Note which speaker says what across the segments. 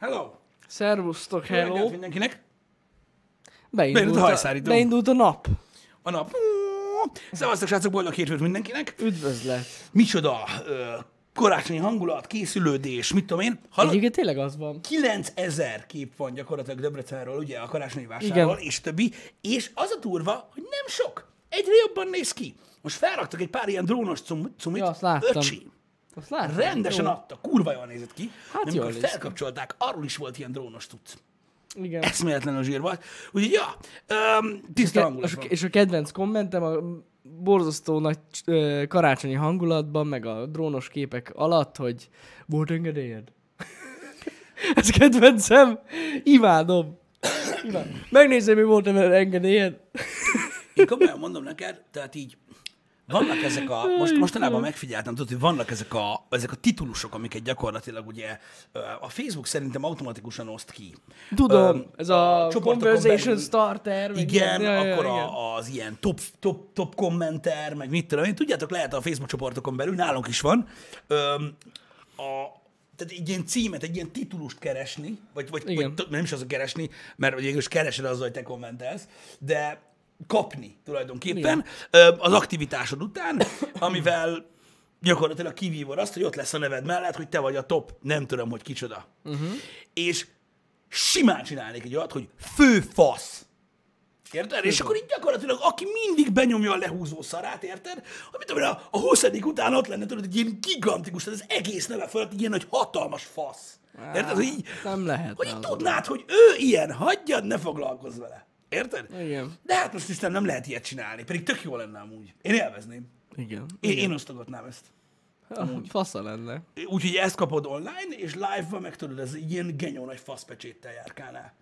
Speaker 1: Hello!
Speaker 2: Szervusztok,
Speaker 1: Jó reggelt
Speaker 2: hello!
Speaker 1: mindenkinek!
Speaker 2: Beindult
Speaker 1: Beindult a
Speaker 2: a,
Speaker 1: hajszárító.
Speaker 2: beindult a nap.
Speaker 1: A nap. Szevasztok, srácok, boldog hétfőt mindenkinek!
Speaker 2: Üdvözlet.
Speaker 1: Micsoda ö, karácsonyi hangulat, készülődés, mit tudom én. Hallod?
Speaker 2: Egyébként tényleg az van.
Speaker 1: 9000 kép van gyakorlatilag Debrecenről, ugye a karácsonyi vásárról,
Speaker 2: Igen.
Speaker 1: és többi, és az a durva, hogy nem sok. Egyre jobban néz ki. Most felraktak egy pár ilyen drónos cum- cumit.
Speaker 2: Ja, azt láttam.
Speaker 1: Öcsi,
Speaker 2: Azt látod?
Speaker 1: rendesen adta, kurva jól nézett ki.
Speaker 2: Hát
Speaker 1: De amikor
Speaker 2: jól néz ki.
Speaker 1: felkapcsolták, arról is volt ilyen drónos tudsz.
Speaker 2: Jó. Igen.
Speaker 1: Eszméletlenül zsír volt. Úgyhogy, ja, öm, tiszta hangulat
Speaker 2: És a,
Speaker 1: van.
Speaker 2: és a kedvenc kommentem a borzasztó nagy ö, karácsonyi hangulatban, meg a drónos képek alatt, hogy volt engedélyed. Ez kedvencem. Imádom. Imádom. Megnézem, mi volt engedélyed.
Speaker 1: Én komolyan mondom neked, tehát így vannak ezek a, most, mostanában megfigyeltem, tudod, hogy vannak ezek a, ezek a titulusok, amiket gyakorlatilag ugye ö, a Facebook szerintem automatikusan oszt ki.
Speaker 2: Tudom,
Speaker 1: Öm,
Speaker 2: ez a,
Speaker 1: csoportokon
Speaker 2: conversation
Speaker 1: belül.
Speaker 2: starter. meg
Speaker 1: Igen,
Speaker 2: ilyen-
Speaker 1: ja,
Speaker 2: jaj, jaj,
Speaker 1: akkor
Speaker 2: igen.
Speaker 1: A, az ilyen top, top, top kommenter, meg mit tudom én. Tudjátok, lehet a Facebook csoportokon belül, nálunk is van, öm, a, tehát egy ilyen címet, egy ilyen titulust keresni, vagy, vagy,
Speaker 2: Igen.
Speaker 1: vagy t- nem is az a keresni, mert végül is keresed azzal, hogy te kommentelsz, de kapni tulajdonképpen ö, az aktivitásod után, amivel gyakorlatilag kivívod azt, hogy ott lesz a neved mellett, hogy te vagy a top, nem tudom, hogy kicsoda.
Speaker 2: Mhm.
Speaker 1: Uh-huh. És simán csinálnék egy olyat, hogy főfasz. Érted? És akkor így gyakorlatilag, aki mindig benyomja a lehúzó szarát, érted? Amit tudom, én, a, a 20. után ott lenne, tudod, egy ilyen gigantikus, tehát az egész neve fölött egy ilyen nagy hatalmas fasz. Érted? Hogy így,
Speaker 2: Nem lehet.
Speaker 1: hogy így
Speaker 2: az.
Speaker 1: tudnád, hogy ő ilyen, hagyjad, ne foglalkozz vele. Érted?
Speaker 2: Igen.
Speaker 1: De hát most Isten nem lehet ilyet csinálni, pedig tök jó lenne amúgy. Én élvezném.
Speaker 2: Igen.
Speaker 1: Én, én osztogatnám ezt.
Speaker 2: Amúgy. Fasza lenne.
Speaker 1: Úgyhogy ezt kapod online, és live-ban meg tudod, ez egy ilyen genyó nagy faszpecséttel járkálnál.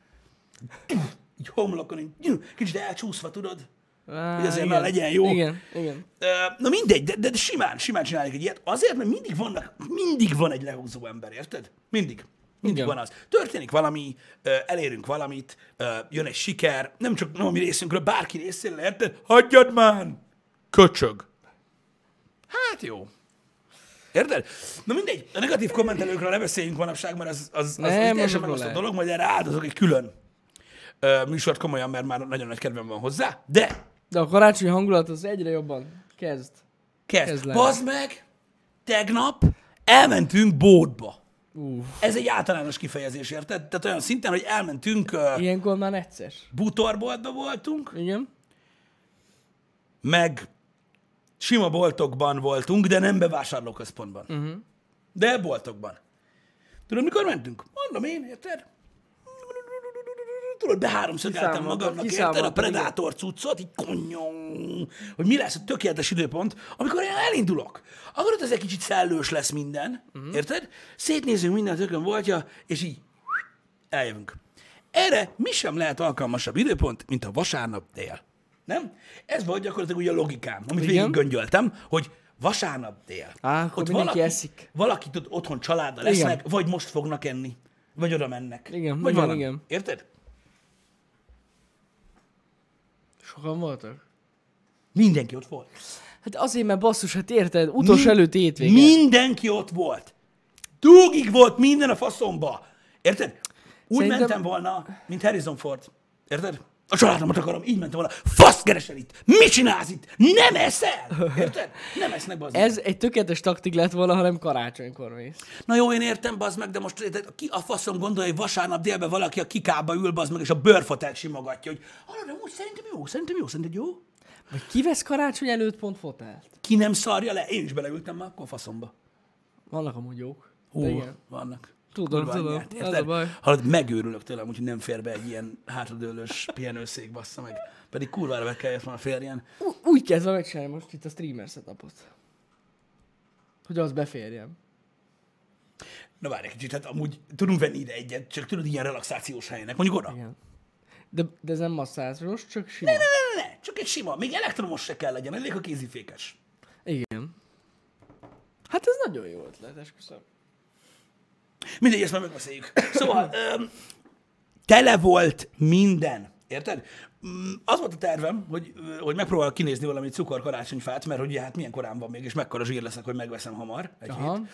Speaker 1: Így homlokon, így kicsit elcsúszva, tudod?
Speaker 2: Á,
Speaker 1: Hogy azért
Speaker 2: igen.
Speaker 1: már legyen jó.
Speaker 2: Igen, igen.
Speaker 1: Ö, Na mindegy, de, de simán, simán csinálják egy ilyet. Azért, mert mindig vannak, mindig van egy lehúzó ember, érted? Mindig. Mindig
Speaker 2: Igen.
Speaker 1: van az. Történik valami, ö, elérünk valamit, ö, jön egy siker, nem csak nem a mi részünkről, bárki részéről, érted? Hagyjad már! Köcsög. Hát jó. Érted? Na mindegy, a negatív kommentelőkről ne beszéljünk manapság, mert az, az, az, az
Speaker 2: Nem,
Speaker 1: teljesen
Speaker 2: azokról
Speaker 1: megosztó
Speaker 2: lehet.
Speaker 1: dolog, majd erre áldozok egy külön ö, műsort komolyan, mert már nagyon nagy kedvem van hozzá, de
Speaker 2: De a karácsonyi hangulat az egyre jobban kezd.
Speaker 1: Kezd.
Speaker 2: Kezd
Speaker 1: Kezd
Speaker 2: le.
Speaker 1: Bazd meg, tegnap elmentünk bódba.
Speaker 2: Uff.
Speaker 1: Ez egy általános kifejezés, érted? Tehát olyan szinten, hogy elmentünk, uh,
Speaker 2: Ilyenkor már egyszer.
Speaker 1: bútorboltba voltunk,
Speaker 2: Igen?
Speaker 1: meg sima boltokban voltunk, de nem bevásárlóközpontban. Uh-huh. De boltokban. Tudod, mikor mentünk? Mondom én, érted? Tudod, beháromszögeltem
Speaker 2: Kiszámoltad,
Speaker 1: magamnak, érted? A
Speaker 2: kiszámoltad, igen.
Speaker 1: Predator cuccot, így konyom, hogy mi lesz a tökéletes időpont, amikor én elindulok. Akkor ott ez egy kicsit szellős lesz minden, uh-huh. érted? Szétnézünk minden tökön voltja, és így eljövünk. Erre mi sem lehet alkalmasabb időpont, mint a vasárnap dél. Nem? Ez volt gyakorlatilag ugye a logikám, amit
Speaker 2: Igen.
Speaker 1: végig göngyöltem, hogy vasárnap dél.
Speaker 2: Á, akkor mindenki eszik.
Speaker 1: Valaki tud otthon családdal
Speaker 2: Igen.
Speaker 1: lesznek, vagy most fognak enni, vagy oda mennek.
Speaker 2: Igen,
Speaker 1: vagy
Speaker 2: igen,
Speaker 1: valami.
Speaker 2: igen.
Speaker 1: Érted?
Speaker 2: Sokan voltak?
Speaker 1: Mindenki ott volt.
Speaker 2: Hát azért, mert basszus, hát érted, utolsó
Speaker 1: Min-
Speaker 2: előtti hétvége.
Speaker 1: Mindenki ott volt. Dugig volt minden a faszomba. Érted? Úgy
Speaker 2: Szerintem-
Speaker 1: mentem volna, mint Harrison Ford. Érted? A családomat akarom, így mentem volna. Fasz keresel itt! Mi csinálsz itt? Nem eszel! Érted? Nem esznek bazd meg.
Speaker 2: Ez egy tökéletes taktik lett volna, ha nem karácsonykor mész.
Speaker 1: Na jó, én értem, bazd meg, de most érted, ki a faszom gondolja, hogy vasárnap délben valaki a kikába ül, bazd meg, és a bőrfotelt simogatja, hogy hallod, amúgy szerintem jó, szerintem jó, szerintem jó.
Speaker 2: Vagy kivesz karácsony előtt pont fotelt?
Speaker 1: Ki nem szarja le? Én is beleültem már akkor a faszomba.
Speaker 2: Vannak amúgy jók.
Speaker 1: Hú,
Speaker 2: De igen.
Speaker 1: vannak.
Speaker 2: Tudom,
Speaker 1: Kurva
Speaker 2: tudom.
Speaker 1: anyját,
Speaker 2: Ez
Speaker 1: érted?
Speaker 2: a baj.
Speaker 1: Hallod, megőrülök tőlem, úgyhogy nem fér be egy ilyen hátradőlős pihenőszék, bassza meg. Pedig kurvára be kellett volna férjen.
Speaker 2: Ú- úgy kezdve megcsinálni most itt a streamer setupot. Hogy az beférjem.
Speaker 1: Na várj egy kicsit, hát amúgy tudunk venni ide egyet, csak tudod, ilyen relaxációs helynek, mondjuk oda.
Speaker 2: Igen. De, de ez nem masszázsos, csak sima.
Speaker 1: Ne, ne, ne, csak egy sima, még elektromos se kell legyen, elég a kézifékes.
Speaker 2: Igen. Hát ez nagyon jó ötlet, esküszöm.
Speaker 1: Mindegy, ezt már megbeszéljük. Szóval öm, tele volt minden. Érted? Mm, Az volt a tervem, hogy, ö, hogy megpróbálok kinézni valami cukorkarácsonyfát, mert hogy ugye, hát milyen korán van még, és mekkora zsír leszek, hogy megveszem hamar egy
Speaker 2: Aha.
Speaker 1: hét.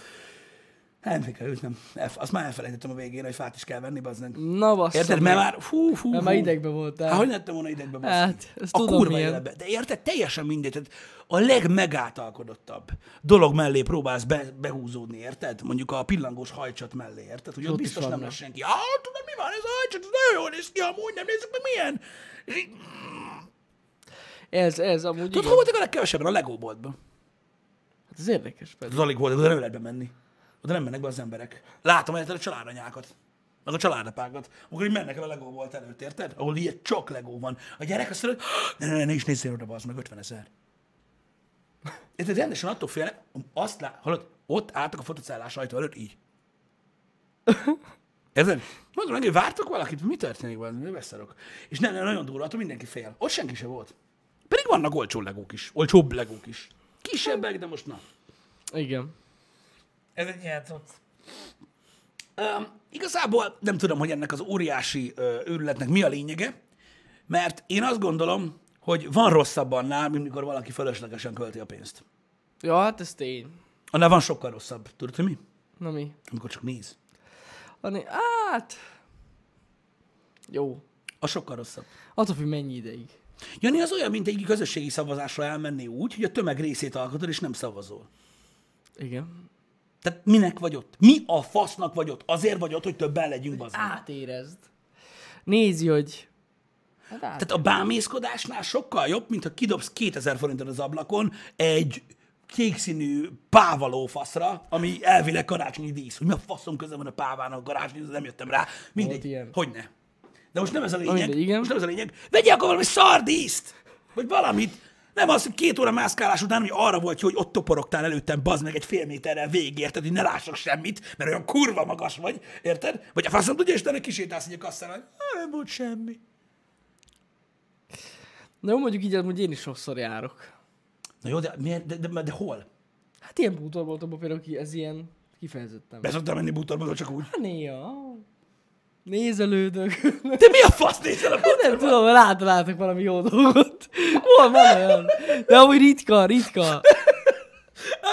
Speaker 1: Hát nem kell nem. Elf- azt már elfelejtettem a végén, hogy fát is kell venni, bazd meg.
Speaker 2: Na bassza.
Speaker 1: Érted? Mert már, hú, hú,
Speaker 2: Mert
Speaker 1: hú.
Speaker 2: már idegbe voltál.
Speaker 1: Hát hogy lettem volna idegbe baszni?
Speaker 2: Hát, ezt
Speaker 1: a
Speaker 2: tudom
Speaker 1: kurva
Speaker 2: milyen.
Speaker 1: életbe. De érted? Teljesen mindegy. Tehát a legmegáltalkodottabb dolog mellé próbálsz be, behúzódni, érted? Mondjuk a pillangós hajcsat mellé, érted? Hogy ott
Speaker 2: Ott is
Speaker 1: biztos nem
Speaker 2: vannak.
Speaker 1: lesz senki. Á, tudod, mi van ez a hajcsat? Ez nagyon jól néz ki, amúgy nem nézzük meg milyen. És így,
Speaker 2: Ez, ez amúgy
Speaker 1: Tudod,
Speaker 2: igen.
Speaker 1: hol voltak a legkevesebben? A legóboltban.
Speaker 2: Hát ez érdekes pedig.
Speaker 1: Az alig volt, oda nem lehet bemenni. Oda nem mennek be az emberek. Látom egyet a családanyákat, meg a családapákat, amikor így mennek el a legó volt előtt, érted? Ahol ilyet csak legó van. A gyerek azt mondja, hogy ne, ne, ne, ne is nézzél oda, az meg 50 ezer. Érted, rendesen attól félnek, azt lát, hallod, ott álltak a fotocellás ajtó előtt így. Érted? Mondom neki, vártok valakit, mi történik van, beszarok. És nem, nem, nagyon durva, attól mindenki fél. Ott senki se volt. Pedig vannak olcsó legók is, olcsóbb legók is. Kisebbek, de most na.
Speaker 2: Igen.
Speaker 1: Ez egy játszott. Um, igazából nem tudom, hogy ennek az óriási ö, őrületnek mi a lényege, mert én azt gondolom, hogy van rosszabb annál, mint mikor valaki fölöslegesen költi a pénzt.
Speaker 2: Ja, hát ez tény.
Speaker 1: Annál van sokkal rosszabb. Tudod, hogy mi?
Speaker 2: Na mi?
Speaker 1: Amikor csak néz.
Speaker 2: Ani, hát... Jó.
Speaker 1: A sokkal rosszabb.
Speaker 2: Attól függ mennyi ideig.
Speaker 1: Jani, az olyan, mint egy közösségi szavazásra elmenni úgy, hogy a tömeg részét alkotod, és nem szavazol.
Speaker 2: Igen.
Speaker 1: Tehát minek vagy ott? Mi a fasznak vagy ott? Azért vagy ott, hogy többen legyünk, bazdmeg.
Speaker 2: Átérezd. Nézi, hogy... Hát át...
Speaker 1: Tehát a bámészkodásnál sokkal jobb, mint ha kidobsz 2000 forintot az ablakon egy kékszínű pávaló faszra, ami elvileg karácsonyi dísz. Hogy mi a faszom köze van a pávának a karácsonyi, nem jöttem rá.
Speaker 2: Volt
Speaker 1: Mindegy,
Speaker 2: ilyen.
Speaker 1: hogy ne. De most nem ez a lényeg.
Speaker 2: mindegy, igen.
Speaker 1: Most nem ez a lényeg. Vegyél akkor valami szardíszt! Vagy valamit. Nem az, hogy két óra mászkálás után, hogy arra volt, hogy ott toporogtál előttem, bazd meg egy fél méterrel végig, érted, hogy ne lássak semmit, mert olyan kurva magas vagy, érted? Vagy a faszom tudja, és utána kisétálsz egy kasszára, hogy "Á, nem volt semmi.
Speaker 2: Na jó, mondjuk így, amúgy én is sokszor járok.
Speaker 1: Na jó, de, miért, de, de, de hol?
Speaker 2: Hát ilyen bútorboltokban például ki- ez ilyen kifejezetten.
Speaker 1: Be szoktam menni bútorba, csak úgy.
Speaker 2: Hát néha. Nézelődök.
Speaker 1: De mi a fasz nézel a
Speaker 2: Hát nem tudom, rátaláltak valami jó dolgot. Hol van olyan? De amúgy ritka, ritka.
Speaker 1: Hát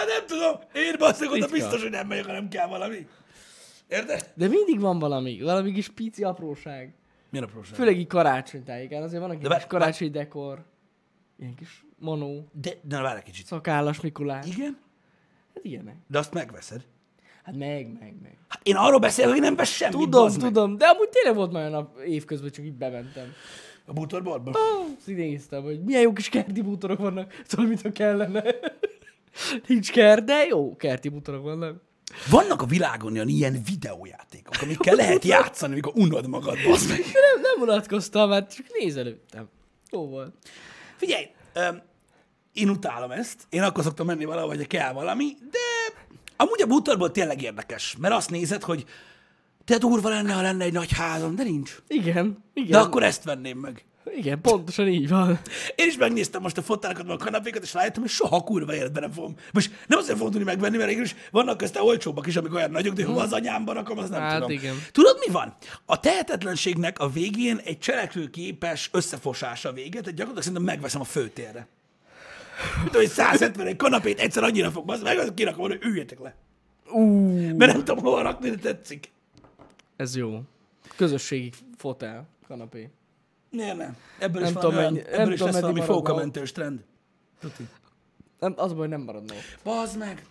Speaker 1: nem tudom, én basszak, oda
Speaker 2: Ritka.
Speaker 1: biztos, hogy nem megyek, hanem kell valami. Érted?
Speaker 2: De mindig van valami, valami kis pici apróság.
Speaker 1: Milyen a probléma?
Speaker 2: Főleg így karácsony tájékán, azért van egy
Speaker 1: várj,
Speaker 2: kis karácsonyi dekor. Ilyen kis manó,
Speaker 1: De, de na, várj egy kicsit.
Speaker 2: szakállas Mikulás.
Speaker 1: Igen?
Speaker 2: Hát ilyenek.
Speaker 1: De azt megveszed.
Speaker 2: Hát meg, meg, meg.
Speaker 1: Hát én arról beszélek, hogy nem vesz semmit.
Speaker 2: Tudom,
Speaker 1: bazd meg.
Speaker 2: tudom, de amúgy tényleg volt már olyan nap évközben, csak így bementem.
Speaker 1: A bútorboltban?
Speaker 2: Azt így néztem, hogy milyen jó kis kerti bútorok vannak, szóval mintha kellene. Nincs kert, de jó kerti bútorok vannak.
Speaker 1: Vannak a világon olyan ilyen videójátékok, amikkel lehet játszani, amikor unod magad, bazd meg.
Speaker 2: De nem, nem unatkoztam, hát csak nézelődtem. Jó volt.
Speaker 1: Figyelj, öm, én utálom ezt, én akkor szoktam menni valahol, hogy kell valami, de amúgy a bútorból tényleg érdekes, mert azt nézed, hogy te durva lenne, ha lenne egy nagy házam, de nincs.
Speaker 2: Igen, igen.
Speaker 1: De akkor ezt venném meg.
Speaker 2: Igen, pontosan így van.
Speaker 1: Én is megnéztem most a fotákat, meg a kanapékat, és rájöttem, hogy soha kurva életben nem fogom. Most nem azért fogom tudni megvenni, mert is vannak közte olcsóbbak is, amik olyan nagyok, de hova az anyámba rakom, az nem
Speaker 2: Hmm. Hát
Speaker 1: tudom.
Speaker 2: igen.
Speaker 1: Tudod, mi van? A tehetetlenségnek a végén egy cselekvőképes összefosása véget, tehát gyakorlatilag szerintem megveszem a főtérre. Mit Tudom, hogy 170 egy kanapét egyszer annyira fog, az meg, az kirakom, hogy üljetek le.
Speaker 2: Ú,
Speaker 1: Mert nem tudom hova rakni, de tetszik.
Speaker 2: ez jó. Közösségi fotel, kanapé.
Speaker 1: Miért nem? Ebből
Speaker 2: Nem
Speaker 1: is, van
Speaker 2: tudom,
Speaker 1: olyan,
Speaker 2: mennyi- nem
Speaker 1: ebből is
Speaker 2: tudom,
Speaker 1: lesz
Speaker 2: meddig
Speaker 1: valami
Speaker 2: marad ma.
Speaker 1: fókamentős trend. Tuti.
Speaker 2: Nem, az a baj, nem maradna ott.
Speaker 1: Bazd meg!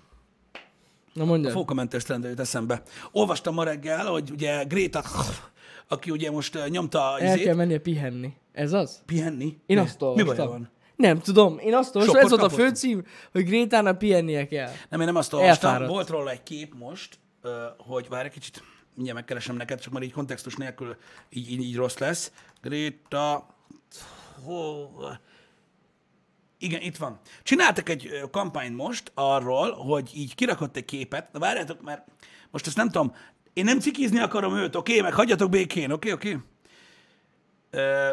Speaker 2: Na mondja.
Speaker 1: Fókamentes trend jut eszembe. Olvastam ma reggel, hogy ugye Greta, aki ugye most eh, nyomta
Speaker 2: El kell
Speaker 1: izét,
Speaker 2: mennie pihenni. Ez az?
Speaker 1: pihenni.
Speaker 2: Én
Speaker 1: Mi?
Speaker 2: azt
Speaker 1: Mi
Speaker 2: olvastam.
Speaker 1: baja van?
Speaker 2: Nem tudom, én azt olvastam,
Speaker 1: Sokkot
Speaker 2: ez volt a
Speaker 1: kapott?
Speaker 2: főcím, hogy Grétának pihennie kell.
Speaker 1: Nem, én nem azt olvastam.
Speaker 2: Elfáradt.
Speaker 1: Volt róla egy kép most, ö, hogy várj egy kicsit, mindjárt megkeresem neked, csak már így kontextus nélkül így, így, így rossz lesz. Greta... Hol- Igen, itt van. Csináltak egy ö, kampányt most arról, hogy így kirakott egy képet. Na várjátok, mert most ezt nem tudom. Én nem cikizni akarom őt, oké? Meg hagyjatok békén, oké, oké? Ö,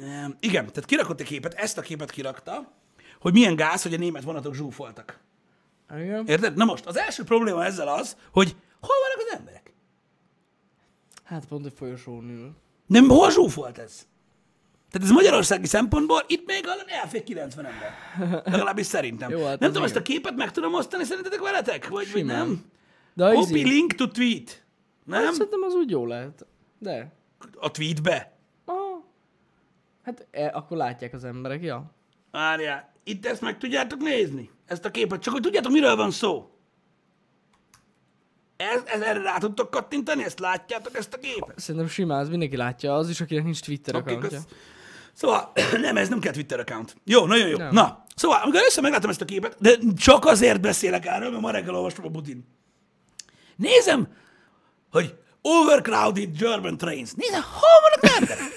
Speaker 1: nem. Igen, tehát kirakott egy képet, ezt a képet kirakta, hogy milyen gáz, hogy a német vonatok zsúfoltak.
Speaker 2: Igen?
Speaker 1: Érted? Na most, az első probléma ezzel az, hogy hol vannak az emberek?
Speaker 2: Hát pont a folyosón ül.
Speaker 1: Nem, hol zsúfolt ez? Tehát ez magyarországi szempontból itt még elfér 90 ember. Legalábbis szerintem.
Speaker 2: Jó,
Speaker 1: Jó,
Speaker 2: hát
Speaker 1: hát
Speaker 2: ez
Speaker 1: nem tudom, ezt a
Speaker 2: igen.
Speaker 1: képet meg tudom osztani szerintetek veletek? Vagy, vagy
Speaker 2: Simán.
Speaker 1: nem?
Speaker 2: De az
Speaker 1: Copy
Speaker 2: így,
Speaker 1: link to tweet.
Speaker 2: hát
Speaker 1: Nem?
Speaker 2: szerintem az úgy jó lehet. De.
Speaker 1: A tweetbe.
Speaker 2: Aha. Hát e, akkor látják az emberek, ja.
Speaker 1: Várjál, itt ezt meg tudjátok nézni, ezt a képet, csak hogy tudjátok, miről van szó. Ez, ez erre rá tudtok kattintani, ezt látjátok, ezt a képet?
Speaker 2: Szerintem simán, ez mindenki látja, az is, akinek nincs Twitter
Speaker 1: Oké,
Speaker 2: accountja.
Speaker 1: kösz. Szóval, nem, ez nem kell Twitter account. Jó, nagyon jó.
Speaker 2: Nem.
Speaker 1: Na, szóval, amikor össze megláttam ezt a képet, de csak azért beszélek erről, mert ma reggel olvastam a Budin. Nézem, hogy overcrowded German trains. Nézem, hol vannak az emberek?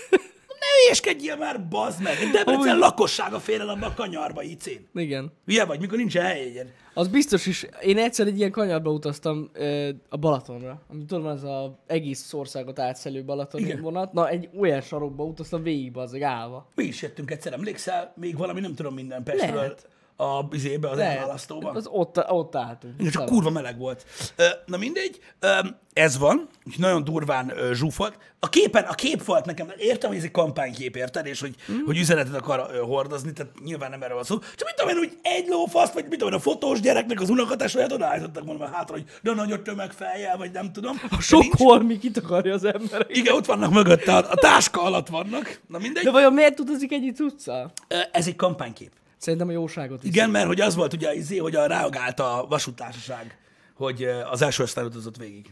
Speaker 1: Ne hülyeskedjél már, bazd meg! Egy Debrecen
Speaker 2: Amúgy-
Speaker 1: lakossága félel abba a kanyarba, icén.
Speaker 2: Igen.
Speaker 1: Hülye vagy, mikor nincs helyegyen.
Speaker 2: Az biztos is. Én egyszer egy ilyen kanyarba utaztam ö, a Balatonra. Ami tudom, van az a egész országot átszelő Balaton
Speaker 1: Igen.
Speaker 2: vonat. Na, egy olyan sarokba utaztam végig, az állva.
Speaker 1: Mi is jöttünk egyszer, emlékszel? Még valami, nem tudom, minden Pestről
Speaker 2: Lehet.
Speaker 1: a bizébe, az
Speaker 2: Lehet.
Speaker 1: elválasztóban.
Speaker 2: Az ott, ott álltunk.
Speaker 1: Igen, csak
Speaker 2: Szava.
Speaker 1: kurva meleg volt. Ö, Na mindegy, ö, ez van, és nagyon durván ö, zsúfolt. A képen, a kép volt nekem, értem, hogy ez egy kampánykép, érted, és hogy, mm. hogy üzenetet akar ö, hordozni, tehát nyilván nem erről van szó. Csak mit tudom én, hogy egy lófaszt, vagy mit tudom én, a fotós gyereknek az unokatását odaállítottak volna hátra, hogy de nagy tömeg fejjel, vagy nem tudom.
Speaker 2: A sok holmi kitakarja az emberek.
Speaker 1: Igen, ott vannak mögötte, a, a táska alatt vannak. Na mindegy,
Speaker 2: De vajon miért utazik egy itt utca?
Speaker 1: Ö, ez egy kampánykép.
Speaker 2: Szerintem a jóságot visz.
Speaker 1: Igen, mert hogy az volt ugye izé, hogy a reagált a vasútársaság, hogy ö, az első osztályt utazott végig.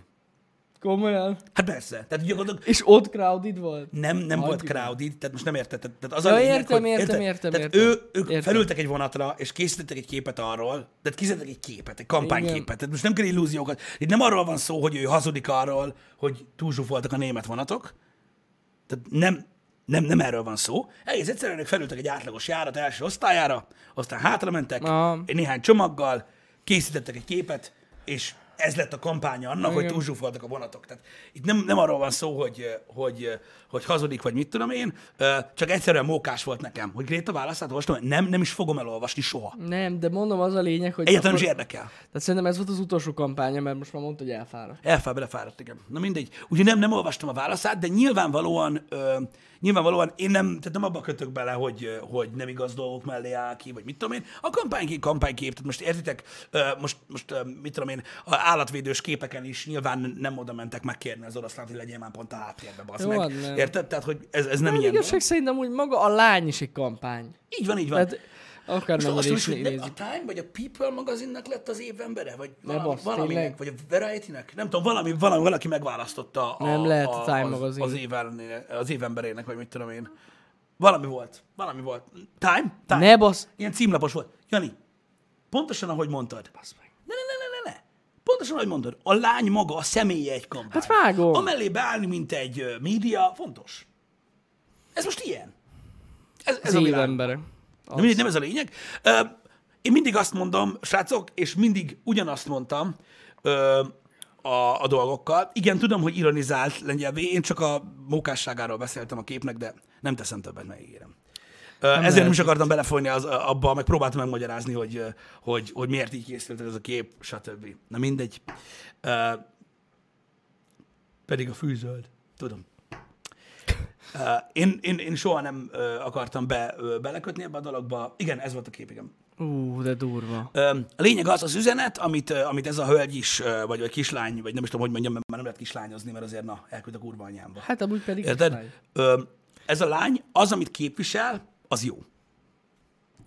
Speaker 2: Komolyan.
Speaker 1: Hát persze. Tehát gyakorlatilag
Speaker 2: És ott crowded volt.
Speaker 1: nem, nem
Speaker 2: Hagyjuk
Speaker 1: volt
Speaker 2: el.
Speaker 1: crowded, tehát most nem érted. Tehát tehát az
Speaker 2: Ja,
Speaker 1: a lényeg,
Speaker 2: értem,
Speaker 1: hogy, érted?
Speaker 2: értem, értem,
Speaker 1: Tehát
Speaker 2: értem.
Speaker 1: Ő, ők
Speaker 2: Értem.
Speaker 1: felültek egy vonatra, és készítettek egy képet arról, tehát készítettek egy képet, egy kampányképet.
Speaker 2: Igen.
Speaker 1: Tehát most nem kell illúziókat. Itt nem arról van szó, hogy ő hazudik arról, hogy túlzsúfoltak a német vonatok. Tehát nem, nem, nem erről van szó. Egész egyszerűen ők felültek egy átlagos járat első osztályára, aztán hátramentek,
Speaker 2: Aha.
Speaker 1: egy néhány csomaggal, készítettek egy képet, és ez lett a kampánya annak, hogy
Speaker 2: Igen.
Speaker 1: túlzsúfoltak a vonatok. Tehát itt nem, nem arról van szó, hogy, hogy, hogy hazudik, vagy mit tudom én, ö, csak egyszerűen mókás volt nekem, hogy Gréta választát olvastam, nem, nem is fogom elolvasni soha.
Speaker 2: Nem, de mondom az a lényeg, hogy...
Speaker 1: Egyáltalán nem
Speaker 2: akkor-
Speaker 1: is érdekel.
Speaker 2: Tehát szerintem ez volt az utolsó kampánya, mert most már mondta, hogy elfáradt.
Speaker 1: Elfáll, belefáradt, igen. Na mindegy. Ugye nem, nem olvastam a válaszát, de nyilvánvalóan, ö, nyilvánvalóan én nem, tehát nem abba kötök bele, hogy, ö, hogy nem igaz dolgok mellé áll ki, vagy mit tudom én. A kampánykép, kampánykép, tehát most értitek, ö, most, most ö, mit tudom én, a állatvédős képeken is nyilván nem oda mentek megkérni az oroszlánt, hogy legyél már pont a háttérbe, bazd
Speaker 2: Jó,
Speaker 1: meg.
Speaker 2: hát nem.
Speaker 1: Érted? Tehát, hogy ez, ez nem
Speaker 2: Nem
Speaker 1: ilyen.
Speaker 2: igazság
Speaker 1: dolog.
Speaker 2: szerintem úgy maga a lány is egy kampány.
Speaker 1: Így van, így van.
Speaker 2: Tehát akármennyire
Speaker 1: Most
Speaker 2: is
Speaker 1: azt mondom, hogy
Speaker 2: nézzük.
Speaker 1: ne- a Time vagy a People magazinnak lett az év embere, vagy
Speaker 2: Ne
Speaker 1: valami,
Speaker 2: basz,
Speaker 1: valaminek,
Speaker 2: tényleg?
Speaker 1: vagy a Variety-nek? Nem tudom, valami, valami, valaki megválasztotta a,
Speaker 2: Nem lehet a Time
Speaker 1: az,
Speaker 2: magazin.
Speaker 1: Az, év ellenére- az év emberének, vagy mit tudom én. Valami volt, valami volt. Time? Time.
Speaker 2: Ne basz!
Speaker 1: Ilyen címlapos volt. Jani, pontosan ahogy mondtad.
Speaker 2: Basz meg.
Speaker 1: Ne, ne, ne, ne, ne, ne. Pontosan ahogy mondod, a lány maga, a személye egy kampány.
Speaker 2: Hát vágom.
Speaker 1: Amellé beállni, mint egy ö, média, fontos. Ez most ilyen. Ez, ez
Speaker 2: Ez
Speaker 1: a
Speaker 2: év
Speaker 1: világ.
Speaker 2: embere.
Speaker 1: De mindegy, nem ez a lényeg. Ö, Én mindig azt mondom, srácok, és mindig ugyanazt mondtam ö, a, a dolgokkal. Igen, tudom, hogy ironizált lengyelvé, én csak a mókásságáról beszéltem a képnek, de nem teszem többet, megígérem. Ö, Ezért nem is akartam belefolyni az, abba, meg próbáltam megmagyarázni, hogy, ö, hogy, hogy miért így készült ez a kép, stb. Na mindegy. Ö, Pedig a fűzöld. Tudom. Uh, én, én, én soha nem uh, akartam be, uh, belekötni ebbe a dologba. Igen, ez volt a kép, igen.
Speaker 2: Ú, de durva.
Speaker 1: Ö, A lényeg az az üzenet, amit, ö, amit ez a hölgy is, ö, vagy a kislány, vagy nem is tudom, hogy mondjam, mert már nem lehet kislányozni, mert azért na, elküld a kurva anyámba.
Speaker 2: Hát amúgy pedig...
Speaker 1: Érted?
Speaker 2: király.
Speaker 1: Ö, Ez a lány, az, amit képvisel, az jó.